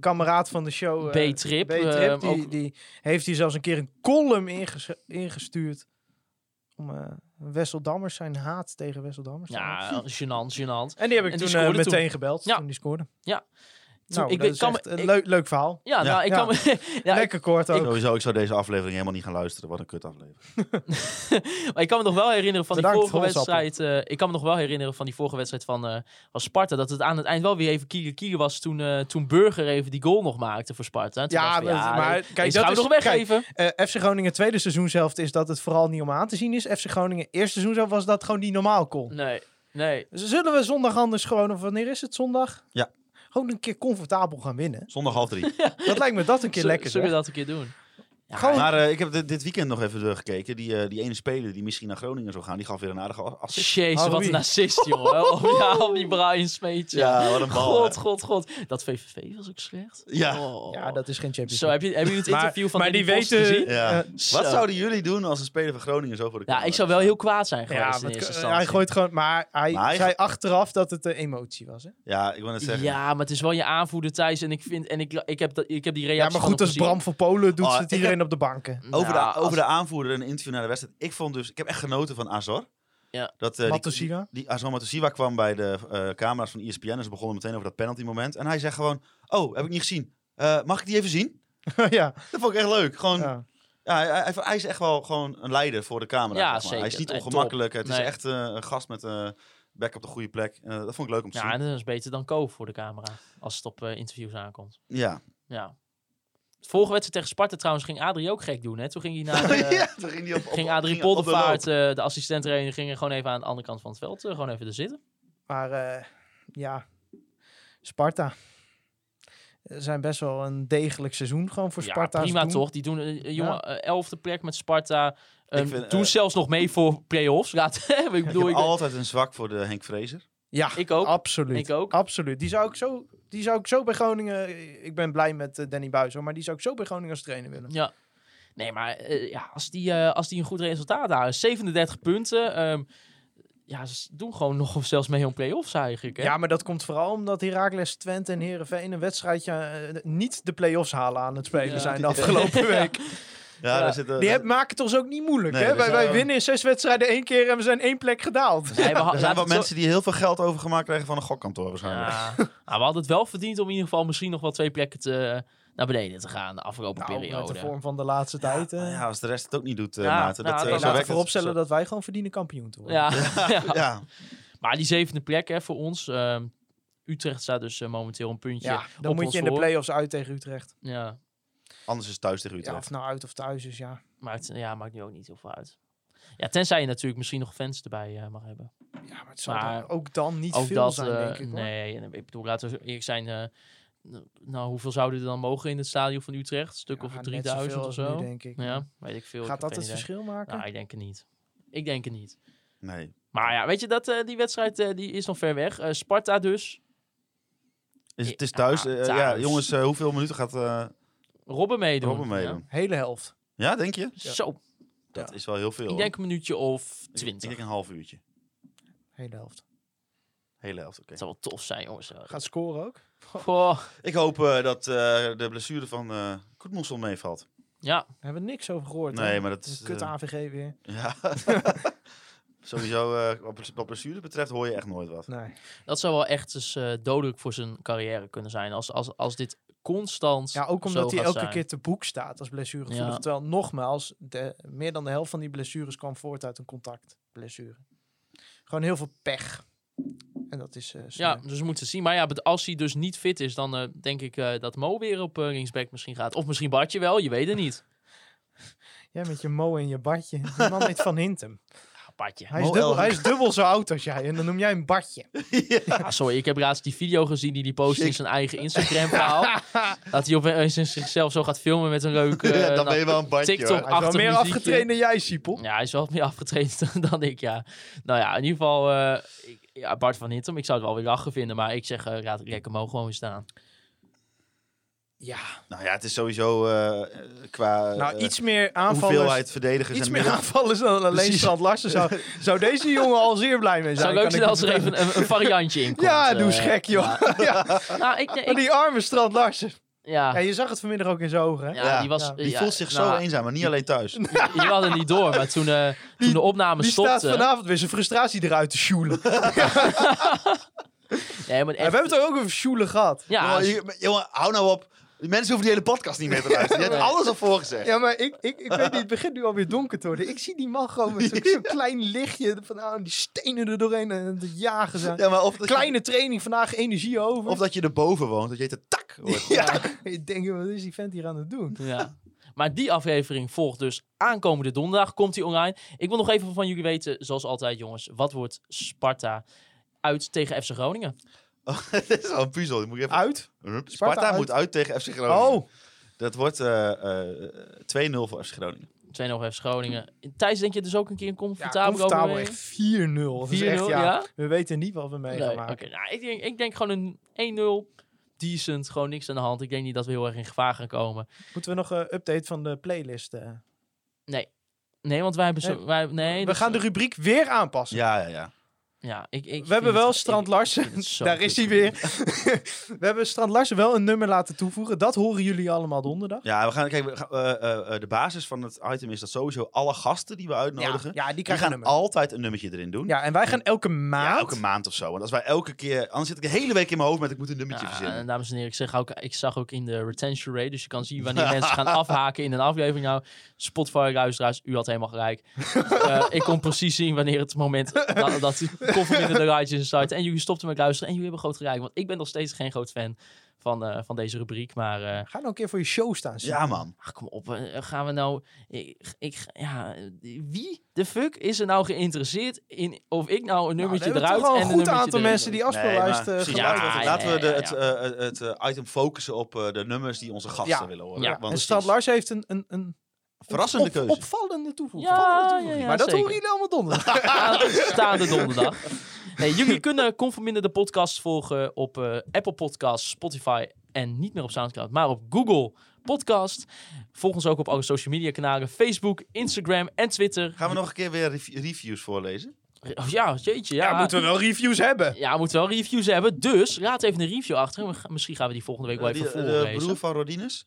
kameraad van de show. eh,
B-Trip,
B-Trip,
eh,
die,
ook-
die heeft hier zelfs een keer een column inges- ingestuurd. Om eh Wesseldammers zijn haat tegen Wesseldammers. te laten
ja,
zien.
gênant, gênant.
En die heb ik
en die
toen eh,
scoorde
meteen
toen.
gebeld.
Ja.
Toen die scoorde.
Ja.
Nou,
ik
ik
weet-
dat is
kan me-
echt een
ik-
leuk, leuk verhaal.
Ja, nou, ik
Ja.
kan me... *laughs* ja, ik-
Lekker kort ook.
Sowieso, ik zou deze aflevering helemaal niet gaan luisteren. Wat een kut aflevering.
Maar ik kan me nog wel herinneren van
Bedankt,
die vorige
Holzappel.
wedstrijd. eh, ik kan me nog wel herinneren van die vorige wedstrijd van, eh, van Sparta. Dat het aan het eind wel weer even kieren kieren was toen, eh, toen Burger even die goal nog maakte voor Sparta. Toen
Ja,
dacht ik,
maar- maar
nee,
kijk,
deze
dat
gaan we
is-
nog
kijk,
weggeven.
Eh, FC Groningen tweede seizoen zelf is dat het vooral niet om aan te zien is. FC Groningen eerste seizoen zelf was dat gewoon niet normaal kon.
Nee, nee.
Zullen we zondag anders gewoon, of wanneer is het zondag?
Ja.
Gewoon een keer comfortabel gaan winnen.
Zondag half
*laughs*
drie.
Dat lijkt me dat een keer
Zul-
lekker.
Zullen
zeg.
we dat een keer doen? Ja,
Gewoon-
Maar eh, ik heb dit, dit weekend nog even gekeken. Die, eh, die ene speler die misschien naar Groningen zou gaan, die gaf weer een
*laughs*
aardige assist.
Jezus, wat
Halloween.
een
*laughs*
assist, joh. Op, ja, op die Brian Smeetje.
Ja, wat een bal.
god,
hè.
god, god. Dat VVV was ook slecht.
Ja.
Oh.
Ja, dat is geen Champions
Zo, heb je, hebben jullie het interview van
maar
Danny
die
Post
weten-
gezien?
Ja.
Eh,
Wat
Zo.
zouden jullie doen als een speler van Groningen zo voor de
Ja,
camera
ik zou wel heel kwaad zijn geweest
Ja,
in
maar het-
eerste
eh,
instantie.
hij gooit gewoon. Maar hij
Maar hij
zei
ge-
achteraf dat het een emotie was. Hè?
Ja, ik wil net zeggen.
Ja, maar het is wel je aanvoerder, Thijs. En ik vind, en ik, ik heb, dat, ik heb die reactie.
Ja, maar goed,
van hem
als
gezien.
Bram van Polen doet,
Oh,
zit
ik
iedereen op de banken. *laughs*
Over,
Nou,
de,
als-
over de aanvoerder en een interview naar de wedstrijd. Ik vond dus, ik heb echt genoten van Azor.
Ja.
Dat, eh, die, die,
Matosiwa?
die Azor Matosiwa kwam bij de eh, camera's van ESPN en ze begonnen meteen over dat penalty moment. En hij zegt gewoon, oh, heb ik niet gezien. Eh, mag ik die even zien? *laughs*
ja,
Dat vond ik echt leuk. Gewoon, ja.
ja.
hij, hij, hij is echt wel gewoon een leider voor de camera.
Ja,
zeg maar.
zeker.
Hij is niet
Nee,
ongemakkelijk. Het
Nee.
is echt eh, een gast met eh bek op de goede plek. Eh, dat vond ik leuk om te
Ja,
zien.
dat is beter dan Ko voor de camera. Als het op eh, interviews aankomt. *laughs*
Ja.
Ja. Vorige wedstrijd tegen Sparta trouwens ging Adrie ook gek doen. Hè? Toen ging hij
*laughs*
naar. eh,
ja, toen ging die op, op-
Ging Adrie
op de
Poldervaart,
loop.
eh, de assistent trainer, ging er gewoon even aan de andere kant van het veld. eh, gewoon even er zitten.
Maar eh, ja, Sparta. Er zijn best wel een degelijk seizoen gewoon voor
Ja,
Sparta.
prima
doen.
toch? Die doen eh, eh, jongen, eh, elfde plek met Sparta. Eh,
Ik vind,
doen
eh,
zelfs nog mee voor play-offs. Laat, *laughs* ik
Ik
bedoel,
heb
ik,
altijd een zwak voor de Henk Vrezer.
Ja,
Ik ook.
Absoluut.
Ik ook.
Absoluut. Die zou ik zo, die zou ik zo bij Groningen. Ik ben blij met eh, Danny Buis, hoor, maar die zou ik zo bij Groningen als trainer willen.
Ja. Nee, maar eh, ja, als, die, eh, als die een goed resultaat halen, 37 punten. ehm, ja, ze doen gewoon nog zelfs mee om play-offs eigenlijk. Hè?
Ja, maar dat komt vooral omdat Heracles, Twente en Herenveen een wedstrijdje eh, niet de play-offs halen aan het spelen
Ja.
zijn de
*laughs*
afgelopen week.
Ja,
Ja.
daar zit, eh,
Die
daar-
heb, maken het ons ook niet moeilijk.
Nee,
hè?
dat
Wij,
is
wij
wel-
winnen in zes wedstrijden één keer en we zijn één plek gedaald.
*laughs* Nee, we ha-
*laughs*
Er
laten
zijn wel
het zo-
mensen die heel veel geld overgemaakt krijgen van een gokkantoor waarschijnlijk.
Ja. Nou, we hadden het wel verdiend om in ieder geval misschien nog wel twee plekken te, eh, naar beneden te gaan de afgelopen
Nou, met
periode.
de vorm van de laatste tijd. eh.
Nou ja, als de rest het ook niet doet, eh
Ja,
Maarten.
nou,
dat,
dat-
eh, zo
Laten we
werkt het.
vooropstellen dat wij gewoon verdienen kampioen te worden. *laughs*
Ja, ja.
Zo- Ja,
maar die zevende plek hè, voor ons. ehm, Utrecht staat dus eh, momenteel een puntje.
Ja, dan
op
moet
ons
je in de
voor.
play-offs uit tegen Utrecht.
Ja,
anders is thuis tegen
Ja, of
Utrecht.
nou uit of thuis is, ja.
maakt, ja, maakt nu ook niet heel veel uit. Ja, tenzij je natuurlijk misschien nog fans erbij eh, mag hebben.
Ja, maar het zal
Maar
dan ook dan niet
ook
veel
dat,
zijn,
eh,
denk ik. hoor.
nee, en ik bedoel, laten we eerlijk zijn. eh, n- nou, hoeveel zouden er dan mogen in het stadion van Utrecht? Een stuk
Ja,
of
net
3000
zoveel
of
als
zo?
nu, denk ik.
Ja, weet ik veel. ik
Gaat
heb
dat
geen idee.
het verschil maken?
Nou, ik denk het niet. Ik denk het niet.
Nee.
Maar ja, weet je dat eh, die wedstrijd eh, die is nog ver weg. Eh, Sparta dus.
Is, het is thuis.
Ja,
eh, ja,
thuis.
jongens, eh, hoeveel minuten gaat eh
Robben meedoen.
Robben meedoen?
Hele helft.
Ja. denk je?
Ja. Zo,
Dat is wel heel veel.
ik
hoor.
denk een minuutje of
Ik- Ik
twintig.
denk een half uurtje.
Hele helft.
Hele helft, oké.
Dat zou wel tof zijn,
*laughs*
jongens.
Gaat scoren ook.
Goh,
Ik hoop eh, dat eh, de blessure van eh Koetmoesel meevalt.
ja,
Daar hebben we niks over gehoord.
Nee,
hè?
maar dat
Het is
is,
een Kut
eh,
AVG weer.
Ja. Sowieso, eh, wat bless- wat blessure betreft, hoor je echt nooit wat.
Nee.
dat zou wel echt eens eh, dodelijk voor zijn carrière kunnen zijn. Als, als, als dit constant
Ja, ook
zo
omdat hij
gaat
elke
zijn.
keer te boek staat als blessuregevoelig.
Ja.
Terwijl, nogmaals, de, meer dan de helft van die blessures kwam voort uit een contactblessure. Gewoon heel veel pech. En dat is eh,
Ja,
sneu.
dus we moeten zien. Maar ja, bet- als hij dus niet fit is, dan eh, denk ik eh, dat Mo weer op eh, ringsback misschien gaat. Of misschien Bartje wel, je weet het niet.
Jij met je mo en je badje. Die man heet Van Hintem.
Ah, Bartje.
Hij is,
Mo
dubbel,
Elger.
hij is dubbel zo oud als jij. En dan noem jij een badje.
Ah, sorry, ik heb laatst die video gezien die die post in zijn eigen
*laughs*
Instagram-verhaal. dat hij opeens in zichzelf zo gaat filmen met een leuke
Ja, dan ben je wel een bandje,
TikTok
hoor.
Hij is wel
achter
meer afgetraind dan jij, Siepel.
Ja, hij is wel meer afgetraind *laughs* dan- dan ik, ja. Nou ja, in ieder geval, eh, ik- ja, Bart van Hintem, ik zou het wel weer lachen vinden, maar ik zeg, eh raad lekker Mo gewoon weer staan.
Ja.
Nou ja, het is sowieso eh, qua
Nou,
eh,
iets meer aanvallers.
hoeveelheid verdedigers
Iets
en
meer
midden-
aanvallers dan alleen
Precies.
Strand Larsen. Zou, zou deze jongen al zeer blij mee
Het
zijn.
zou leuk
kan
zijn
ik
als er
me
even een, een variantje in komt.
Ja, doe
eh.
eens gek, joh. *laughs* Ja.
Nou, ik, ik-
Maar Die arme Strand Larsen.
ja,
Ja, je zag het vanmiddag ook in zijn ogen. Hè?
ja, die was... eh,
Ja.
Die
ja,
voelt zich zo
nou,
eenzaam, maar niet alleen thuis.
Je had het niet door, maar toen, eh, toen de opname
Die staat
stopte...
vanavond weer zijn frustratie eruit te
*laughs*
sjoelen. Ja,
Nee, maar
we
echt,
hebben het er ook over sjoelen gehad.
ja,
Jongen, je- jongen, hou nou op. Die mensen hoeven die hele podcast niet meer te luisteren. Je hebt alles al voorgezegd.
Ja, maar ik, ik, ik weet niet, het begint nu alweer donker te worden. Ik zie die man gewoon met
*laughs*
zo'n zo'n klein lichtje van aan die stenen er doorheen en te jagen zijn.
Ja, maar of, dat je,
Kleine training vandaag, energie over.
of dat je erboven woont, dat je het een tak hoort.
*laughs* ja. Ik denk, wat is die vent hier aan het doen?
*laughs* Ja. Maar die aflevering volgt dus aankomende donderdag. Komt die online. Ik wil nog even van jullie weten, zoals altijd jongens. Wat wordt Sparta uit tegen FC Groningen?
Oh, *laughs* dat is wel een puzzel. Die Moet ik even...
Uit?
Sparta,
uit.
moet uit tegen FC Groningen.
Oh,
Dat wordt eh, eh, 2-0 voor FC Groningen.
2-0 voor FC Groningen. Thijs, denk je dus ook een keer een comfortabel
comfortabel
overwinning?
echt 4-0. Dat is
4-0,
echt, ja,
ja?
We weten niet wat we mee
Nee,
gaan
oké.
maken.
Nou, ik, denk, ik denk gewoon een 1-0. Decent, gewoon niks aan de hand. Ik denk niet dat we heel erg in gevaar gaan komen.
Moeten we nog een update van de playlist? eh?
Nee, want wij hebben zo...
Nee.
Wij, nee,
Eh, we
dat-
gaan de rubriek weer aanpassen.
Ja, ja, ja.
Ja, ik, ik
We hebben
vind
wel
het-
Strand
ik-
Larsen.
vind het zo
Daar is hij
kut.
weer. *laughs* we hebben Strand Larsen wel een nummer laten toevoegen. Dat horen jullie allemaal donderdag.
Ja, we gaan, kijk, we gaan- eh, eh, eh, de basis van het item is dat sowieso alle gasten die we uitnodigen,
Ja, die
die
krijgen
gaan
een nummer.
altijd een nummertje erin doen.
Ja, en wij gaan elke
Ja,
maand.
elke maand of zo. Want als wij elke keer, anders zit ik de hele week in mijn hoofd met ik moet een nummertje
Ja,
verzinnen.
en dames en heren, ik, zeg ook, ik zag ook in de retention rate, dus je kan zien
*laughs*
wanneer mensen gaan afhaken in een aflevering. Nou, Spotify-luisteraars, u had helemaal
*laughs*
gelijk. Eh, ik kon precies zien wanneer het moment dat, dat koffer in de garage is start. En jullie stopten met luisteren en jullie hebben groot gelijk. Want ik ben nog steeds geen groot fan van, eh, van deze rubriek. Maar eh,
Ga nou een keer voor je show staan. Sjoerd. Nou,
Ja, man.
ach, kom op, eh, gaan we nou... Ik, ik, ja, eh, wie de fuck is er nou geïnteresseerd in of ik nou een
Nou, we
nummertje
hebben
eruit
toch wel
en
een
een
goed
nummertje
aantal
erin
mensen die
Nee, maar
afspeelluisteren.
precies,
eh, geluid
laten we het-
Ja,
laten we de,
ja, ja,
het, eh, het eh, item focussen op eh, de nummers die onze gasten
Ja.
willen horen.
Ja.
Want
en
het
Strand
is
Larsen heeft een, een, een
verrassende
op-
keuze.
opvallende toevoeging.
Ja,
Opvallende
ja,
toevoeging.
ja,
maar dat
zeker.
horen jullie allemaal
*laughs*
donderdag.
aanstaande donderdag. Nee, jullie kunnen Conforminder de podcast volgen op eh, Apple Podcasts, Spotify en niet meer op Soundcloud, maar op Google Podcast. Volg ons ook op alle social media kanalen, Facebook, Instagram en Twitter.
Gaan we nog een keer weer rev- reviews voorlezen?
Oh, ja, jeetje, ja.
ja, moeten we wel reviews hebben.
Ja, we moeten wel reviews hebben. Dus laat even een review achter. We gaan- Misschien gaan we die volgende week wel
Eh, die-
even
eh, de
voorlezen.
broer van Rodinus?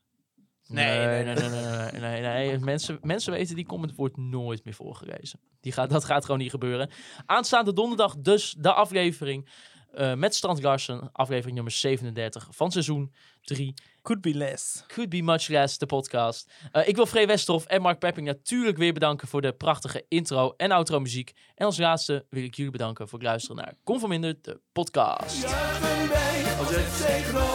Nee, nee, nee, nee, nee, nee, nee, nee. Mensen, mensen weten, die comment wordt nooit meer voorgelezen. Die gaat, dat gaat gewoon niet gebeuren. Aanstaande donderdag dus de aflevering eh, met Strand Garsen. Aflevering nummer 37 van seizoen 3.
Could be less.
Could be much less, de podcast. Eh, ik wil Free Westerhof en Mark Pepping natuurlijk weer bedanken voor de prachtige intro en outro muziek. En als laatste wil ik jullie bedanken voor het luisteren naar Conforminder, de podcast.
Juichen wij als FC Groningen.